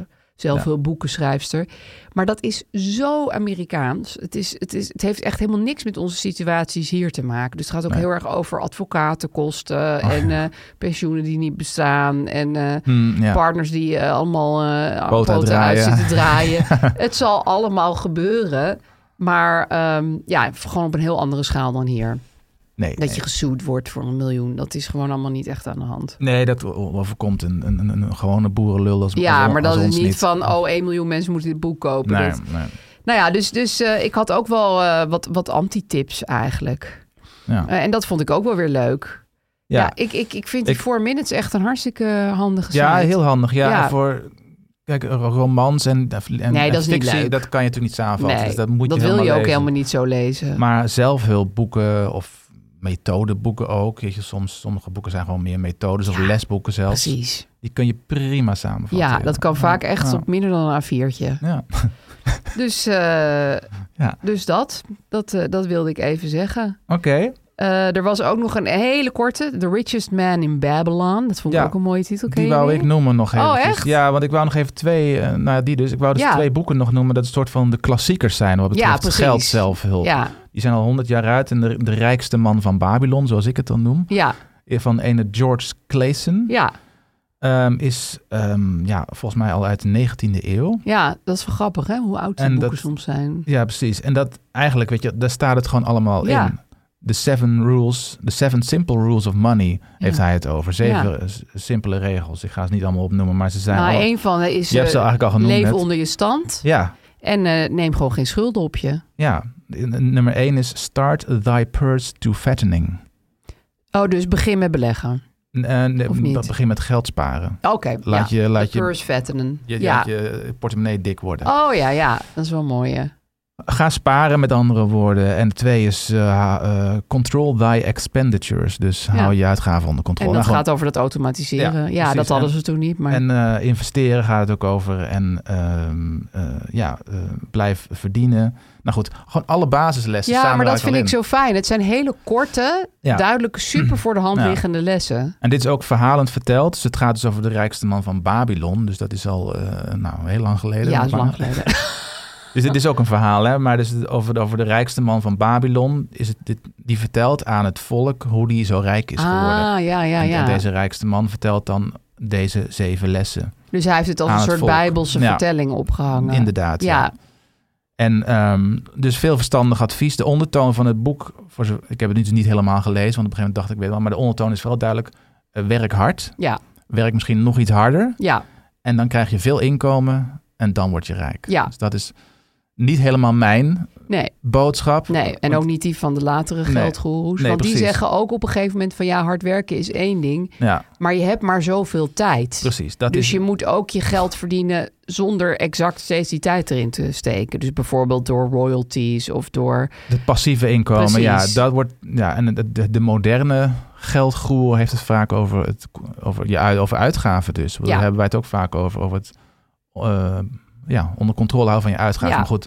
zelfhulpboekenschrijfster. Maar dat is zo Amerikaans. Het, is, het, is, het heeft echt helemaal niks met onze situaties hier te maken. Dus het gaat ook Nee. Oh, heel erg over advocatenkosten... en eh, pensioenen die niet bestaan en... eh, Hmm, ja. partners die eh, allemaal eh Poot poten uitdraaien. uit zitten draaien. het zal allemaal gebeuren. Maar ehm, ja, gewoon op een heel andere schaal dan hier. nee, Dat nee. je gesuwd wordt voor een miljoen. Dat is gewoon allemaal niet echt aan de hand. Nee, dat o- overkomt een, een, een, een gewone boerenlul als Ja, als- maar dat als is ons niet, van... oh, 1 miljoen mensen moeten dit boek kopen. Nee, Dat- nee. Nou ja, dus, dus eh, ik had ook wel eh, wat, wat anti-tips eigenlijk. Ja. Eh, en dat vond ik ook wel weer leuk. Ja, Ja. ik, ik, ik vind die Ik- 4 Minutes echt een hartstikke handige site. Ja, heel handig. Ja, Ja. en voor kijk, romans en, en, Nee, dat en is niet fictie, leuk. dat kan je natuurlijk niet samenvatten. Nee, dus dat moet dat je wil je ook helemaal lezen. helemaal niet zo lezen. Maar zelfhulpboeken of methodeboeken ook. Weet je, soms, sommige boeken zijn gewoon meer methodes of Ja, lesboeken zelfs. Precies. Die kun je prima samenvatten. Ja, dat kan vaak echt eh, Ja. op minder dan een A4'tje. Ja. Dus, eh, dus dat, dat, eh, dat wilde ik even zeggen. Oké. Eh, er was ook nog een hele korte, The Richest Man in Babylon. Dat vond ik Ja, ook een mooie titel. Ken Die je wou die? ik noemen nog Oh, eventjes. echt? Ja, want ik wou nog even twee, eh, nou ja, die dus. Ik wou dus Ja. twee boeken nog noemen dat een soort van de klassiekers zijn wat Ja, betreft precies. geld zelfhulp. Ja, Die zijn al honderd jaar uit en de, de rijkste man van Babylon, zoals ik het dan noem, eh, ja, van ene George Clayson, ja, ehm, is ehm, ja, volgens mij al uit de 19e eeuw. ja, dat is wel grappig hè, hoe oud die En boeken dat- soms zijn. Ja, precies. En dat eigenlijk, weet je, daar staat het gewoon allemaal Ja. in. De seven rules, de seven simple rules of money heeft hij het over. Zeven s- simpele regels. Ik ga ze niet allemaal opnoemen, maar ze zijn Nou, al- een van de is Je hebt ze eh, eigenlijk al genoemd. leef net. onder je stand Ja, en eh, neem gewoon geen schulden op je. ja. N- n- Nummer één is start thy purse to fattening. Oh, dus begin met beleggen. N- en Of niet? dat begint met geld sparen. Oké, Laat ja. je, laat de je, purse vettenen. je, ja. laat je portemonnee dik worden. Oh ja, ja, dat is wel mooi hè. Ga sparen met andere woorden. En twee is eh, ha- eh, control thy expenditures. Dus Ja. hou je uitgaven onder controle. En dat Nou, gewoon- gaat over dat automatiseren. Ja, Ja, precies. dat hadden En- ze toen niet. Maar En eh, investeren gaat het ook over. En ehm, eh, ja, eh, blijf verdienen. Nou goed, gewoon alle basislessen ja, samen maar dat raken vind ik al in. zo fijn. Het zijn hele korte, Ja. duidelijke, super voor de hand Ja. liggende lessen. En dit is ook verhalend verteld. Dus het gaat dus over de rijkste man van Babylon. Dus dat is al eh, nou, heel lang geleden. ja, dat is Maar- lang geleden. Dus dit is ook een verhaal, hè? Maar dus over, over de rijkste man van Babylon. Is het, dit, die vertelt aan het volk hoe die zo rijk is geworden. ah, ja, ja, En- ja. En deze rijkste man vertelt dan deze zeven lessen. Dus hij heeft het als aan een het soort volk. bijbelse Ja. vertelling opgehangen. Inderdaad. Ja, ja. En ehm, dus veel verstandig advies. De ondertoon van het boek, voor zo, ik heb het nu dus niet helemaal gelezen, want op een gegeven moment dacht ik weet wel, maar de ondertoon is wel duidelijk: eh, werk hard, ja, werk misschien nog iets harder, ja, en dan krijg je veel inkomen en dan word je rijk. Ja. Dus dat is niet helemaal mijn Nee, boodschap. nee. En Want- ook niet die van de latere Nee. geldgoeroes. Nee, want die precies. zeggen ook op een gegeven moment van... ja, hard werken is één ding, Ja, maar je hebt maar zoveel tijd. precies. Dat dus is, je moet ook je geld verdienen zonder exact steeds die tijd erin te steken. Dus bijvoorbeeld door royalties of door... Het passieve inkomen, Precies. ja, dat wordt. Ja, en de, de, de moderne geldgroer heeft het vaak over, het, over, je uit, over uitgaven. Dus daar Ja. hebben wij het ook vaak over. Over het eh, ja, onder controle houden van je uitgaven. Ja. Maar goed,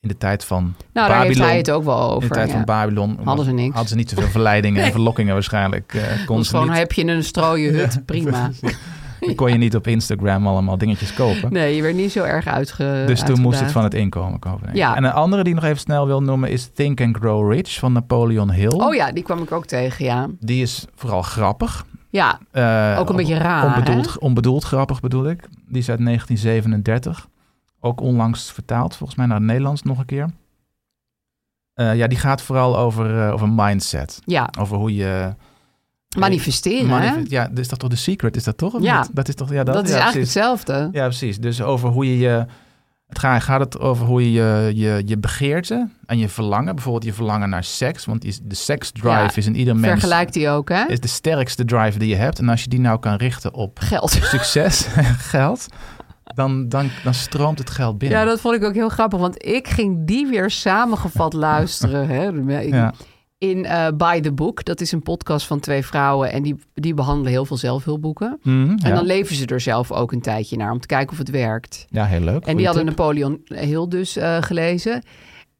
in de tijd van Nou, daar Babylon. heeft hij het ook wel in de over. tijd ja. van Babylon Hadden ze niks. hadden ze niet zoveel verleidingen en verlokkingen waarschijnlijk. eh konden Want ze gewoon niet- heb je een strooien hut, prima. Dan kon je niet op Instagram allemaal dingetjes kopen. Nee, je werd niet zo erg uitge. Dus toen moest het uitgedaagd. van het inkomen komen. denk ik. Ja. En een andere die ik nog even snel wil noemen is Think and Grow Rich van Napoleon Hill. Oh ja, die kwam ik ook tegen, ja. Die is vooral grappig. Ja, Eh, Ook een beetje raar, Onbedoeld, onbedoeld grappig bedoel ik. Die is uit 1937. Ook onlangs vertaald, volgens mij naar het Nederlands nog een keer. Eh, ja, die gaat vooral over, eh, over mindset. ja. Over hoe je... manifesteren. hè? manif- ja, is dat toch de secret? Is dat toch? of Ja. niet? Dat is toch... Ja, Dat, dat, is ja, eigenlijk precies. hetzelfde. Ja, precies. Dus over hoe je je... Het gaat, gaat het over hoe je je, je je begeerte en je verlangen, bijvoorbeeld je verlangen naar seks, want die is- de seksdrive Ja, is in ieder mens Vergelijkt die ook, hè? is de sterkste drive die je hebt. En als je die nou kan richten op Geld. succes en geld, dan, dan, dan stroomt het geld binnen. Ja, dat vond ik ook heel grappig, want ik ging die weer samengevat luisteren. Hè? Ik- Ja. In eh, By the Book, dat is een podcast van twee vrouwen en die, die behandelen heel veel zelfhulpboeken. Mhm, ja. En dan leven ze er zelf ook een tijdje naar om te kijken of het werkt. ja, heel leuk. En Goeie die hadden tip. Napoleon Hill dus eh, gelezen.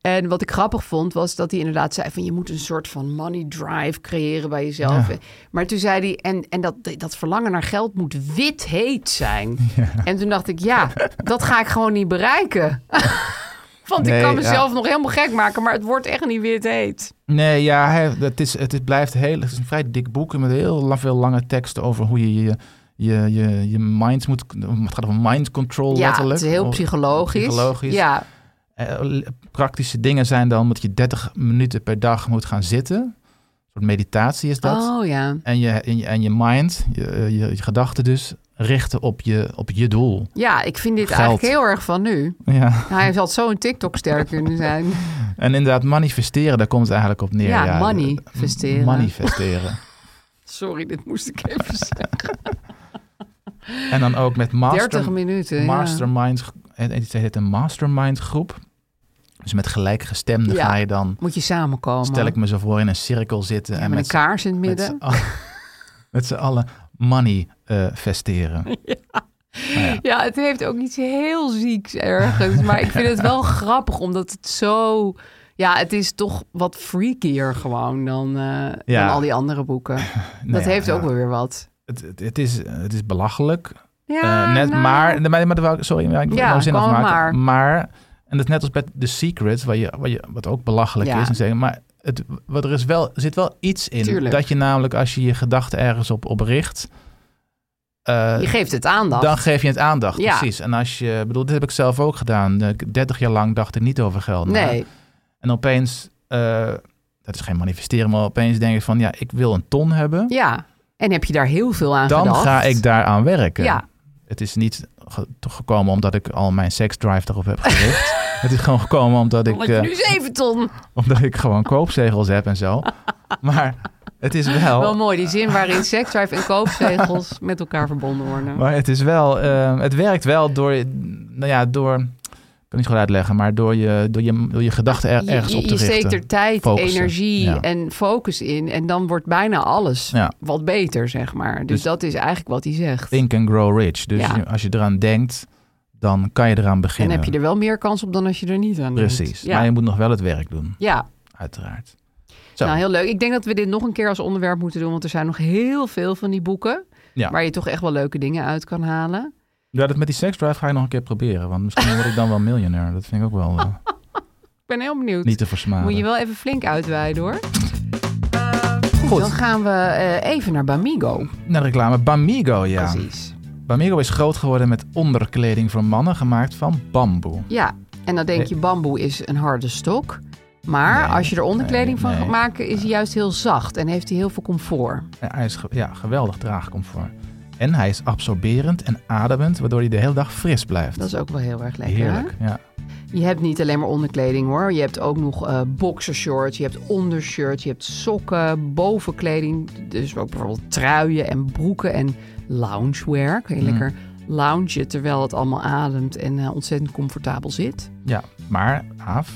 En wat ik grappig vond, was dat hij inderdaad zei van... je moet een soort van money drive creëren bij jezelf. Maar toen zei hij, en, en dat, dat verlangen naar geld moet wit heet zijn. En toen dacht ik, ja, dat ga ik gewoon niet bereiken. Want Nee, ik kan ja. mezelf nog helemaal gek maken, maar het wordt echt niet wit heet. Nee, ja, hij- het, is, het is- blijft heel... Het is een vrij dik boek met heel la- veel lange teksten over hoe je je, je, je, je mind moet... Het gaat over mind control ja, letterlijk. het is heel Of- psychologisch. psychologisch. Ja, Eh, l- praktische dingen zijn dan dat je 30 minuten per dag moet gaan zitten. Een soort meditatie is dat. oh ja. en je, en je, en je mind, je, eh, je, je gedachten dus, richten op je, op je doel. Ja, ik vind dit Geld. eigenlijk heel erg van nu. Nou, Ja. Hij had zo'n TikTok-ster kunnen zijn. En inderdaad, manifesteren, daar komt het eigenlijk op neer. Ja, money manifesteren. Manifesteren. Sorry, dit moest ik even zeggen. en dan ook met master, 30 minuten. ja. mastermind, het het heet een mastermind groep. Dus met gelijkgestemden Ja. ga je dan, Moet je samenkomen. stel ik me zo voor, in een cirkel zitten. Ja, en met met een kaars in het met midden. z'n allen- met z'n allen money eh, festeren. Nou ja. Ja, het heeft ook iets heel zieks ergens. Maar ik vind het wel grappig, omdat het zo... Ja, het is toch wat freakier gewoon dan, eh, Ja. dan al die andere boeken. Nou dat ja, heeft ja. ook wel weer wat. Het, het, het is, het is belachelijk. Ja, Eh, net, nou, maar, maar, maar, maar- sorry, maar ik wil Ja, nou zin kom afmaken. maar. Maar, en dat is net als bij The Secret, waar je, waar je, wat ook belachelijk Ja. is. En zeggen, maar het, wat er is wel, er zit wel iets in. Tuurlijk. Dat je namelijk, als je je gedachten ergens op, op richt, eh, Je geeft het aandacht. dan geef je het aandacht. Ja. Precies. En als je, ik bedoel, dit heb ik zelf ook gedaan. Eh, ik- 30 jaar lang dacht ik niet over geld. na. nee, En opeens, eh, dat is geen manifesteren, maar opeens denk ik van, ja, ik wil een ton hebben. ja. En heb je daar heel veel aan dan gedacht? ga ik daaraan werken. Ja. Het is niet ge- gekomen omdat ik al mijn seksdrive erop heb gericht. het is gewoon gekomen omdat ik, Want je eh, nu 7 ton. omdat ik gewoon koopzegels heb en zo. Maar het is wel. Wel mooi, die zin waarin seksdrive en koopzegels met elkaar verbonden worden. maar het is wel. eh, het werkt wel door. Nou ja, door. Ik kan niet goed uitleggen, maar door je, door je, door je gedachten er- Je- ergens je, op te je richten. steekt er tijd, Focussen, energie ja. en focus in. En dan wordt bijna alles Ja. wat beter, zeg maar. Dus, Dus- dat is eigenlijk wat hij zegt. Think and grow rich. Dus Ja. je- als je eraan denkt, dan kan je eraan En beginnen. heb je er wel meer kans op dan als je er niet aan doet. Precies. Ja, Maar je moet nog wel het werk doen, ja. uiteraard. Zo. nou heel leuk. Ik denk dat we dit nog een keer als onderwerp moeten doen. Want er zijn nog heel veel van die boeken. Ja. Waar je toch echt wel leuke dingen uit kan halen. Ja, dat met die seksdrive ga ik nog een keer proberen. Want misschien word ik dan wel miljonair. Dat vind ik ook wel eh, Ik ben heel benieuwd. niet te versmaden. Moet je wel even flink uitweiden hoor. Goed, dan gaan we eh, even naar Bamigo. Naar de reclame. Bamigo, ja. Precies. Bamigo is groot geworden met onderkleding voor mannen gemaakt van bamboe. Ja, en dan denk Nee. je bamboe is een harde stok. Maar Eh. Nee, als je er onderkleding nee, van nee. gaat maken, is hij juist heel zacht en heeft hij heel veel comfort. En hij is ge- ja, geweldig draagcomfort. En hij is absorberend en ademend, waardoor hij de hele dag fris blijft. Dat is ook wel heel erg lekker. hè? Heerlijk, ja. Je hebt niet alleen maar onderkleding hoor. Je hebt ook nog eh boxershorts, je hebt ondershirts, je hebt sokken, bovenkleding. Dus ook bijvoorbeeld truien en broeken en loungewear. Kun je Mm. lekker loungen terwijl het allemaal ademt en eh, ontzettend comfortabel zit. ja. Maar, Aaf,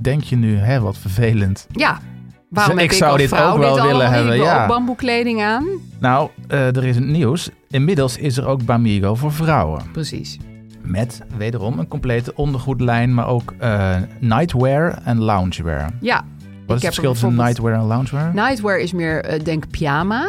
denk je nu, hè, wat vervelend. Ja, waarom Dus heb ik ik zou als dit vrouw ook wel dit willen allemaal niet? hebben, Ik wil ja. ook bamboekleding aan. Nou, eh, er is een nieuws. Inmiddels is er ook Bamigo voor vrouwen. Precies. Met wederom een complete ondergoedlijn, maar ook eh, nightwear en loungewear. Ja, Wat is heb het er verschil tussen bijvoorbeeld- Nou, nightwear en loungewear? Nightwear is meer, eh, denk pyjama.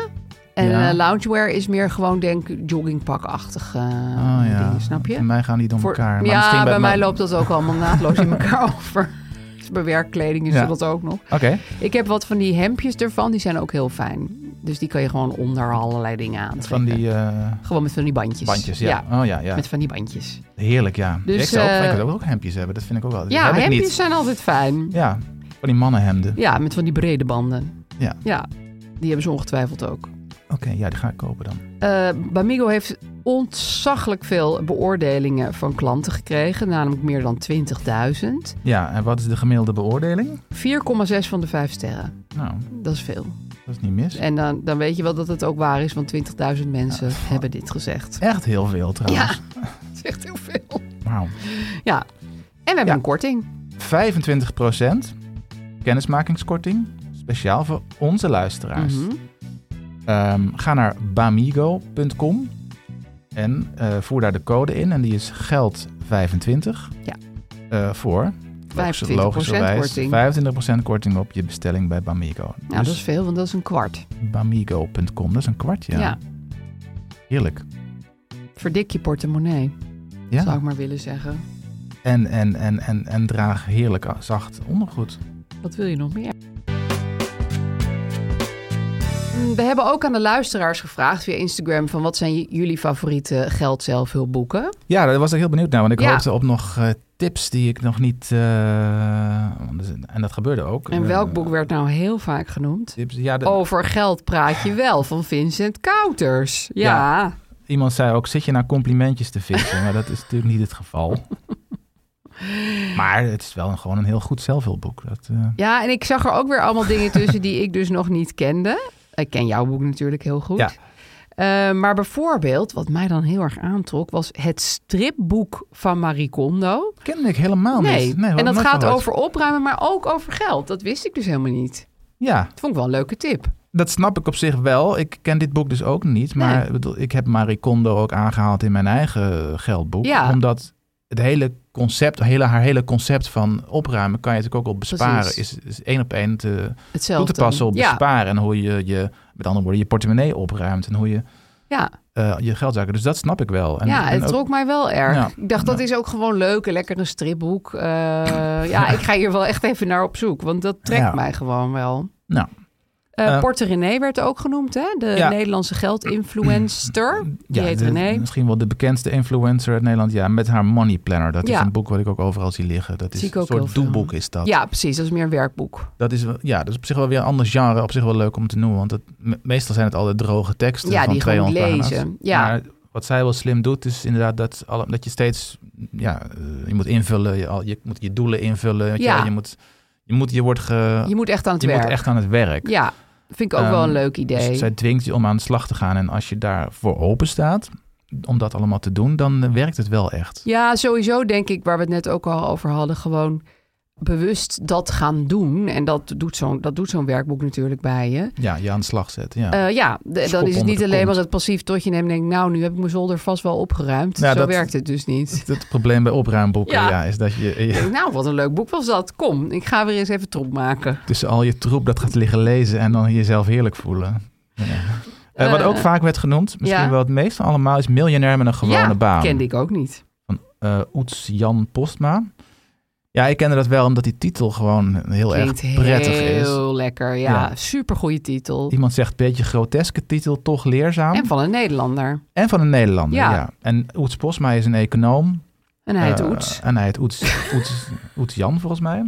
En Ja. eh, loungewear is meer gewoon, denk ik, joggingpakachtig eh Oh ja. dingen, snap je? Bij mij gaan die door Voor- elkaar. Maar ja, misschien bij, mij mijn- loopt dat ook allemaal naadloos in elkaar over. Dus bij werkkleding is Ja. dat ook nog. Oké. Ik heb wat van die hemdjes ervan, die zijn ook heel fijn. Dus die kan je gewoon onder allerlei dingen aantrekken. Van die eh, Gewoon met van die bandjes. bandjes, ja. Oh ja, ja. met van die bandjes. Heerlijk, ja. Dus, ik zou ook, eh, ik wil ook hemdjes hebben. Dat vind ik ook wel. Die Ja, heb ik hemdjes niet. zijn altijd fijn. Ja, van die mannenhemden. Ja, met van die brede banden. Ja. ja die hebben ze ongetwijfeld ook. Oké, ja, die ga ik kopen dan. Eh Bamigo heeft ontzaglijk veel beoordelingen van klanten gekregen. Namelijk meer dan 20.000. 4,6 Ja, en wat is de gemiddelde beoordeling? van de 5 sterren. Nou, Dat is veel. dat is niet mis. En dan, dan weet je wel dat het ook waar is, want 20.000 mensen hebben dit gezegd. Echt heel veel trouwens. Ja, dat is echt heel veel. Wauw. Ja, en we hebben Ja. een korting. 25% kennismakingskorting. Speciaal voor onze luisteraars. Mhm. Ehm, ga naar bamigo.com en eh, voer daar de code in. En die is geld25. Ja. Eh, voor 25% korting. 25% korting op je bestelling bij Bamigo. Ja, dus dat is veel, want dat is een kwart. bamigo.com, dat is een kwartje. Ja. Heerlijk. Verdik je portemonnee, zou Ja. ik maar willen zeggen. En, en, en, en, en draag heerlijk zacht ondergoed. Wat wil je nog meer? Mm, We hebben ook aan de luisteraars gevraagd via Instagram van wat zijn j- jullie favoriete geldzelfhulpboeken? Ja, daar was ik heel benieuwd naar, want ik Ja. hoopte op nog eh, tips die ik nog niet... eh, want er zijn- en dat gebeurde ook. En Eh, welk boek Oh. werd nou heel vaak genoemd? Tips, ja, de- Over geld praat je wel van Vincent Kouters. Ja, Iemand zei ook, zit je naar complimentjes te vissen? maar dat is natuurlijk niet het geval. maar het is wel een, gewoon een heel goed zelfhulpboek. Dat, eh, Ja, en ik zag er ook weer allemaal dingen tussen die ik dus nog niet kende. Ik ken jouw boek natuurlijk heel goed. Ja. Eh, maar bijvoorbeeld, wat mij dan heel erg aantrok, was het stripboek van Marie Kondo. kende ik helemaal niet. Oh, hoor, en dat nooit gaat gehoord. over opruimen, maar ook over geld. Dat wist ik dus helemaal niet. Ja, Dat vond ik wel een leuke tip. dat snap ik op zich wel. Ik ken dit boek dus ook niet. Maar Nee. ik bedoel, ik heb Marie Kondo ook aangehaald in mijn eigen geldboek. Ja. Omdat het hele concept, hele, haar hele concept van opruimen... kan je natuurlijk ook op besparen. Precies. Is, is één op één te, toe Hetzelfde. te passen op ja, besparen. En hoe je je, met andere woorden, je portemonnee opruimt. En hoe je ja, eh, je geldzaken... Dus dat snap ik wel. En ik ja ben het ook- trok mij wel erg. Ja. Ik dacht, dat is ook gewoon leuk, een lekker een stripboek. Eh, ja, ik ga hier wel echt even naar op zoek, want dat trekt Ja. mij gewoon wel. Nou. Eh, Eh, Porte René werd ook genoemd, hè? De Ja. Mm. Nederlandse geldinfluencer. Die heet de- René. Misschien wel de bekendste influencer uit Nederland. Ja, met haar money planner. Dat is Ja. een boek wat ik ook overal zie liggen. Dat is Zie ik een ook heel soort veel. doelboek is dat. Ja, precies. Dat is meer een werkboek. Dat is, wel- ja, dat is op zich wel weer een ander genre. Op zich wel leuk om te noemen. Want het, me- meestal zijn het altijd droge teksten Ja, van die gewoon 200 pagina's. lezen. Ja. Maar wat zij wel slim doet, is inderdaad dat, alle, dat je steeds... Ja, eh, je moet invullen. Je, al- je moet je doelen invullen. weet je Ja. wel. Je, moet, je, moet, je wordt ge, Je moet echt aan het je werk. eh, moet echt aan het werk. Ja, vind ik ook Ehm, wel een leuk Dus idee. zij dwingt je om aan de slag te gaan. En als je daarvoor open staat, om dat allemaal te doen, dan eh, werkt het wel echt. Ja, sowieso denk ik, waar we het net ook al over hadden, gewoon bewust dat gaan doen. En dat doet zo'n, dat doet zo'n werkboek natuurlijk bij je. Ja, je aan de slag zetten. Ja. Eh, ja, de- Schop dan is het onder niet de alleen kont. maar het passief totje nemen en denk nou, nu heb ik mijn zolder vast wel opgeruimd. Ja, Zo Nou, dat- werkt het dus niet. het probleem bij opruimboeken Ja. ja. is dat je Ik je denk, nou, wat een leuk boek was dat. Kom, ik ga weer eens even troep maken. tussen al je troep dat gaat liggen lezen en dan jezelf heerlijk voelen. Ja. Eh, wat Eh, ook vaak werd genoemd, misschien ja. wel het meest van allemaal, is miljonair met een gewone ja, baan. kende ik ook niet. eh Oets Jan Postma. Ja, ik kende dat wel omdat die titel gewoon heel Klinkt erg prettig is. heel lekker, ja. Ja. Supergoeie titel. Iemand zegt, beetje groteske titel, toch leerzaam. En van een Nederlander. En van een Nederlander, Ja. ja. En Oets Posma is een econoom. En hij heet Eh, Oets. En hij heet Oets, Oets, Oets Jan, volgens mij.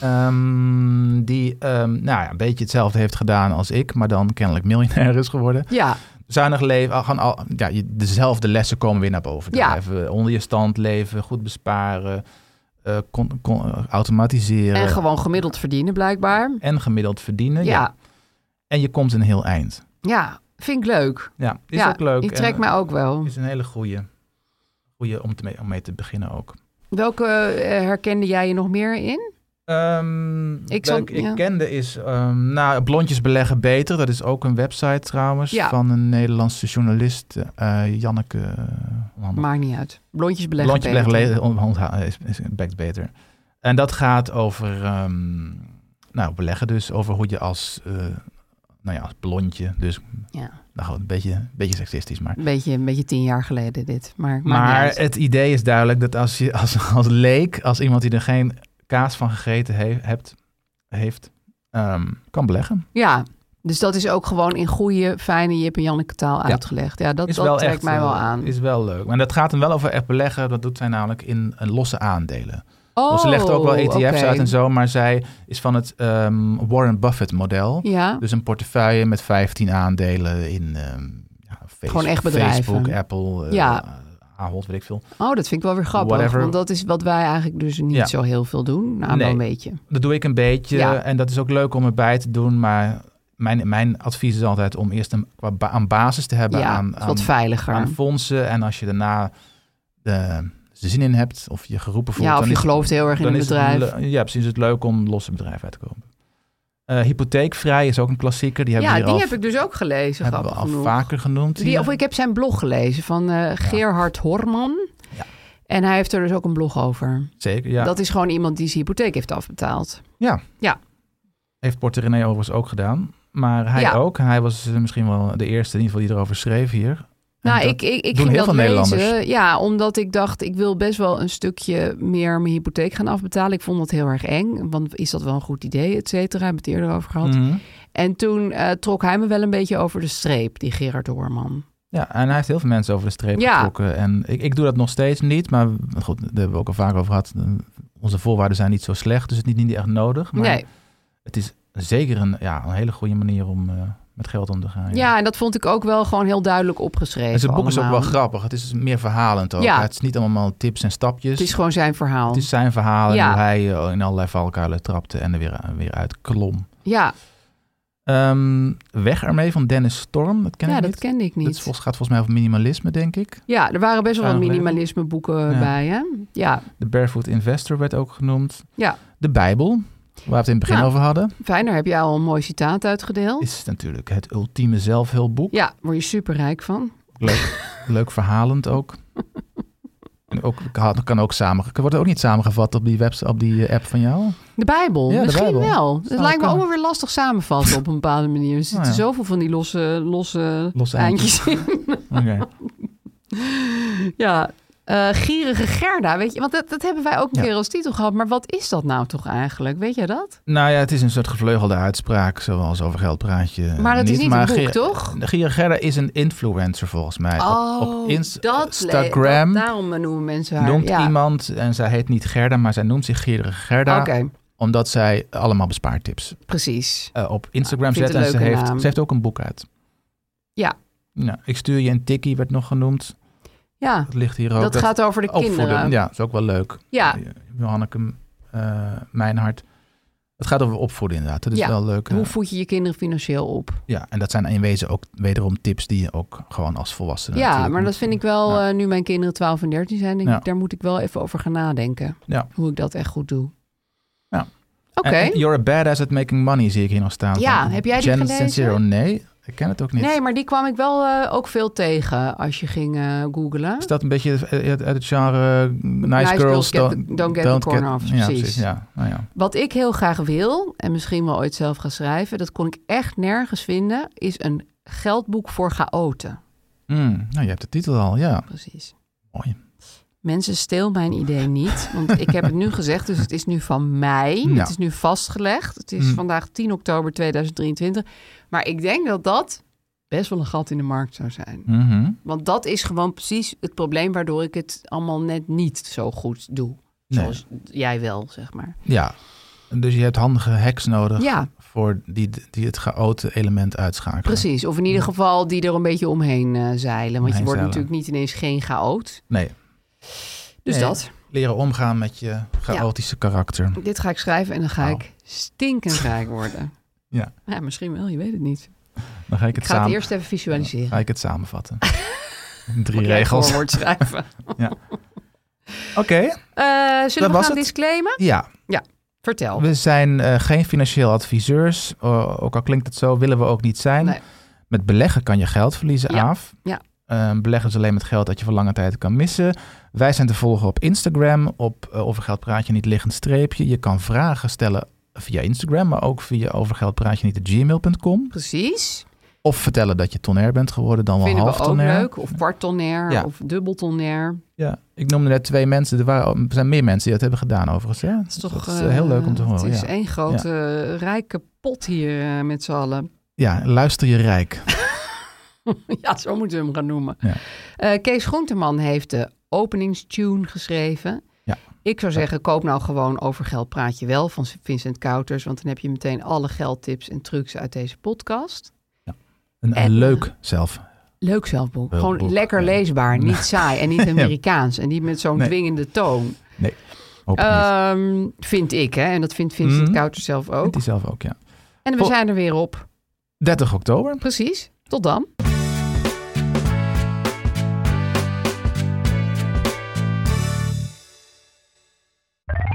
Ehm, die ehm, nou ja, een beetje hetzelfde heeft gedaan als ik, maar dan kennelijk miljonair is geworden. Ja, Zuinig leven, al- gewoon al, ja, je- dezelfde lessen komen weer naar boven. Ja. Even onder je stand leven, goed besparen, eh, con- con- eh, automatiseren en en, gewoon gemiddeld verdienen blijkbaar. gemiddeld verdienen. Ja. Ja, En je komt een heel eind. ja, vind ik leuk. Ja, is ja, ook leuk. Die en, trekt mij ook wel. Is een hele goede, goede om, te mee, om mee te beginnen ook. Welke eh, herkende jij je nog meer in? Ehm Ik ik zal- ik ja. kende is, ehm nou, Blondjes Beleggen Beter. Dat is ook een website trouwens Ja. van een Nederlandse journalist, eh, Janneke Hollander. Maakt niet uit. Blondjes beleggen. Blondjes Beleggen beter. Hm. Le- on- ontha- is, is bekt beter. En dat gaat over ehm, nou, beleggen dus, over hoe je als eh, nou ja, als blondje. Dus Ja. nou goed, een beetje, een beetje seksistisch, maar... Een beetje, een beetje tien jaar geleden dit. Maar, maakt niet Maar uit. het idee is duidelijk dat als je als, als leek, als iemand die er geen kaas van gegeten heeft, hebt, heeft ehm, kan beleggen. Ja, dus dat is ook gewoon in goede, fijne Jip en Janneke taal uitgelegd. Ja, dat, Is dat wel trekt echt, mij wel eh, aan. Is wel leuk. Maar dat gaat hem wel over echt beleggen. Dat doet zij namelijk in, eh, losse aandelen. oh, Want ze legt ook wel ETF's oké. uit en zo, maar zij is van het ehm, Warren Buffett model. Ja, Dus een portefeuille met 15 aandelen in ehm, ja, Face- Gewoon echt bedrijven. Facebook, Apple, eh Ja. Ahold, weet ik veel. oh, dat vind ik wel weer grappig. Whatever. Want dat is wat wij eigenlijk dus niet Ja. zo heel veel doen. Nou, Nee. wel een beetje. Dat doe ik een beetje. Ja. En dat is ook leuk om erbij te doen. Maar mijn, mijn advies is altijd om eerst een, qua ba- aan basis te hebben ja, aan, het is wat aan, veiliger. aan fondsen. En als je daarna eh de zin in hebt of je geroepen voelt. ja, of dan je is- gelooft heel erg in dan een is het bedrijf. le- ja, precies. Het is leuk om losse bedrijven uit te kopen. Eh, hypotheekvrij is ook een klassieker. Die hebben ja, we die hier al, heb ik dus ook gelezen, hebben we grappig al genoeg. vaker genoemd. Die, hier. of ik heb zijn blog gelezen van eh, Gerhard Horman. Ja. En hij heeft er dus ook een blog over. Zeker, ja. Dat is gewoon iemand die zijn hypotheek heeft afbetaald. Heeft Porter René overigens ook gedaan. Maar hij Ja. ook. Hij was eh, misschien wel de eerste in ieder geval die erover schreef hier. En Nou, dat- ik, ik, ik doen ging heel dat veel lezen. Nederlanders. Ja, omdat ik dacht, ik wil best wel een stukje meer mijn hypotheek gaan afbetalen. Ik vond dat heel erg eng. Want is dat wel een goed idee, et cetera? Hebben we het eerder over gehad. Mhm. En toen eh, trok hij me wel een beetje over de streep, die Gerard Hoorman. Ja, en hij heeft heel veel mensen over de streep Ja. getrokken. En ik, ik doe dat nog steeds niet. Maar goed, daar hebben we ook al vaak over gehad. Onze voorwaarden zijn niet zo slecht, dus het is niet, niet echt nodig. Maar Nee. het is zeker een, ja, een hele goede manier om eh, met geld om te gaan. Ja, en dat vond ik ook wel gewoon heel duidelijk opgeschreven. En zijn boek is ook wel allemaal. grappig. Het is dus meer verhalend ook. Ja. Het is niet allemaal tips en stapjes. Het is gewoon zijn verhaal. Het is zijn verhaal en Ja. hoe hij eh, in allerlei valkuilen trapte en er weer, weer uit klom. Ja, Ehm, Weg ermee van Dennis Storm, dat ken ja ik dat niet. kende ik Dat niet. is volgens- gaat volgens mij over minimalisme, denk ik. Ja, er waren best wel wat Zou je nog minimalisme boeken Ja. bij, hè? Ja, De Barefoot Investor werd ook genoemd. Ja. De Bijbel, waar we het in het begin Ja. over hadden, fijn, daar heb jij al een mooi citaat uitgedeeld. is natuurlijk het ultieme zelfhulpboek. Ja, word je superrijk van. Leuk, leuk verhalend ook. En ook, kan- kan ook samen, wordt ook niet samengevat op die, webs, op die eh, app van jou. De Bijbel, Ja, de misschien Bijbel. wel. Het Zou lijkt me kunnen. Oh ook wel weer lastig samenvatten op een bepaalde manier. Er zitten ja. zoveel van die losse, losse, Losse eindjes in. Oké. Ja, Eh, Gierige Gerda, weet je. Want dat, dat hebben wij ook een Ja. keer als titel gehad. Maar wat is dat nou toch eigenlijk? Weet jij dat? nou ja, het is een soort gevleugelde uitspraak, zoals over geld praat je. eh, Maar dat is niet maar een boek, Ger- toch? Gira Gerda is een influencer volgens mij. Oh, op, op Inst- dat le- Instagram dat- daarom noemen mensen haar. noemt ja. iemand, en zij heet niet Gerda, maar zij noemt zich Gierige Gerda. Oké, Omdat zij allemaal bespaartips precies. eh, op Instagram Ik vind zet. het En een ze leuke heeft, naam. ze heeft ook een boek uit. Ja. Nou, ik stuur je een tikkie, werd nog genoemd. Ja, Dat ligt hier ook. dat, gaat over de opvoeden. kinderen. Ja, is ook wel leuk. Ja. Eh, Johanneke eh Mijnhart. Het gaat over opvoeden inderdaad. Dat is Ja. wel leuk. eh, Hoe voed je je kinderen financieel op? ja, en dat zijn in wezen ook wederom tips die je ook gewoon als volwassene Ja, eh, natuurlijk maar moet- dat vind ik wel, Ja. eh, nu mijn kinderen 12 en 13 zijn, denk Ja. ik, daar moet ik wel even over gaan nadenken. Ja. Hoe ik dat echt goed doe. Ja. Oké. En- en You're a badass at making money zie ik hier nog staan. Ja, Van heb jij die Jen gelezen? Sincero. Nee, ik ken het ook niet. Nee, maar die kwam ik wel eh, ook veel tegen als je ging eh googlen. Is dat een beetje het- uit uit het genre eh, nice, girls, girls get don't, the- don't get the corner office, Ja, precies. precies. Ja, nou ja. Wat ik heel graag wil, en misschien wel ooit zelf gaan schrijven, dat kon ik echt nergens vinden, is een geldboek voor chaoten. Mm, nou, je hebt de titel al, ja. Precies. Mooi. Mensen, steel mijn idee niet. Want ik heb het nu gezegd, dus het is nu van mij. Ja. Het is nu vastgelegd. Het is Mm. vandaag 10 oktober 2023. Maar ik denk dat dat best wel een gat in de markt zou zijn. Mhm. Want dat is gewoon precies het probleem waardoor ik het allemaal net niet zo goed doe. Nee. Zoals jij wel, zeg maar. Ja, dus je hebt handige hacks nodig Ja, voor die, die het chaote element uitschakelen. precies. Of in ieder geval die er een beetje omheen eh, zeilen. Want je Omheen wordt zeilen. natuurlijk niet ineens geen chaot. Nee, Dus Nee. dat. leren omgaan met je chaotische karakter. Dit ga ik schrijven en dan ga Nou. ik stinkend rijk worden. Ja. ja, misschien wel, je weet het niet. Dan ga Ik ik het, ga het samen, eerst even visualiseren. ga ik het samenvatten. In Mag Drie jij het regels. Oké, voorwoord schrijven. Eh, zullen we was gaan het. disclaimen? ja. Vertel. We zijn eh, geen financieel adviseurs. O- ook al klinkt het zo, willen we ook niet zijn. Nee. Met beleggen kan je geld verliezen, Ja, af. ja. beleggen is alleen met geld dat je voor lange tijd kan missen. Wij zijn te volgen op Instagram, op eh, Over Geld Praat Je Niet Liggend Streepje. Je kan vragen stellen eh, via Instagram, maar ook via overgeldpraatje.gmail.com. Precies. Of vertellen dat je tonair bent geworden, dan wel Vinden we half ook tonair. leuk. Of kwarttonair Ja. of dubbeltonair. Ja, ik noemde net twee mensen. Er, waren, er zijn meer mensen die dat hebben gedaan overigens. Hè? Dat is toch dat is eh, heel leuk om te horen. Het is ja. één grote eh, rijke pot hier eh, met z'n allen. ja, luister je rijk. ja, zo moeten we hem gaan noemen. Ja. Eh, Kees Groenteman heeft de openingstune geschreven. Ja. Ik zou zeggen, koop nou gewoon over geld praat je wel van Vincent Kouters. Want dan heb je meteen alle geldtips en trucs uit deze podcast. Een, een En- leuk zelf. Leuk zelfboek. Leuk Gewoon boek, lekker ja. leesbaar. Niet saai en niet Amerikaans. En niet met zo'n Nee. dwingende toon. Nee, hoop ik niet. Ehm, vind ik, hè. En dat vindt Vincent Mhm. Kouters zelf ook. Vindt hij zelf ook, ja. En we Vol- zijn er weer op. 30 oktober. Precies. Tot dan.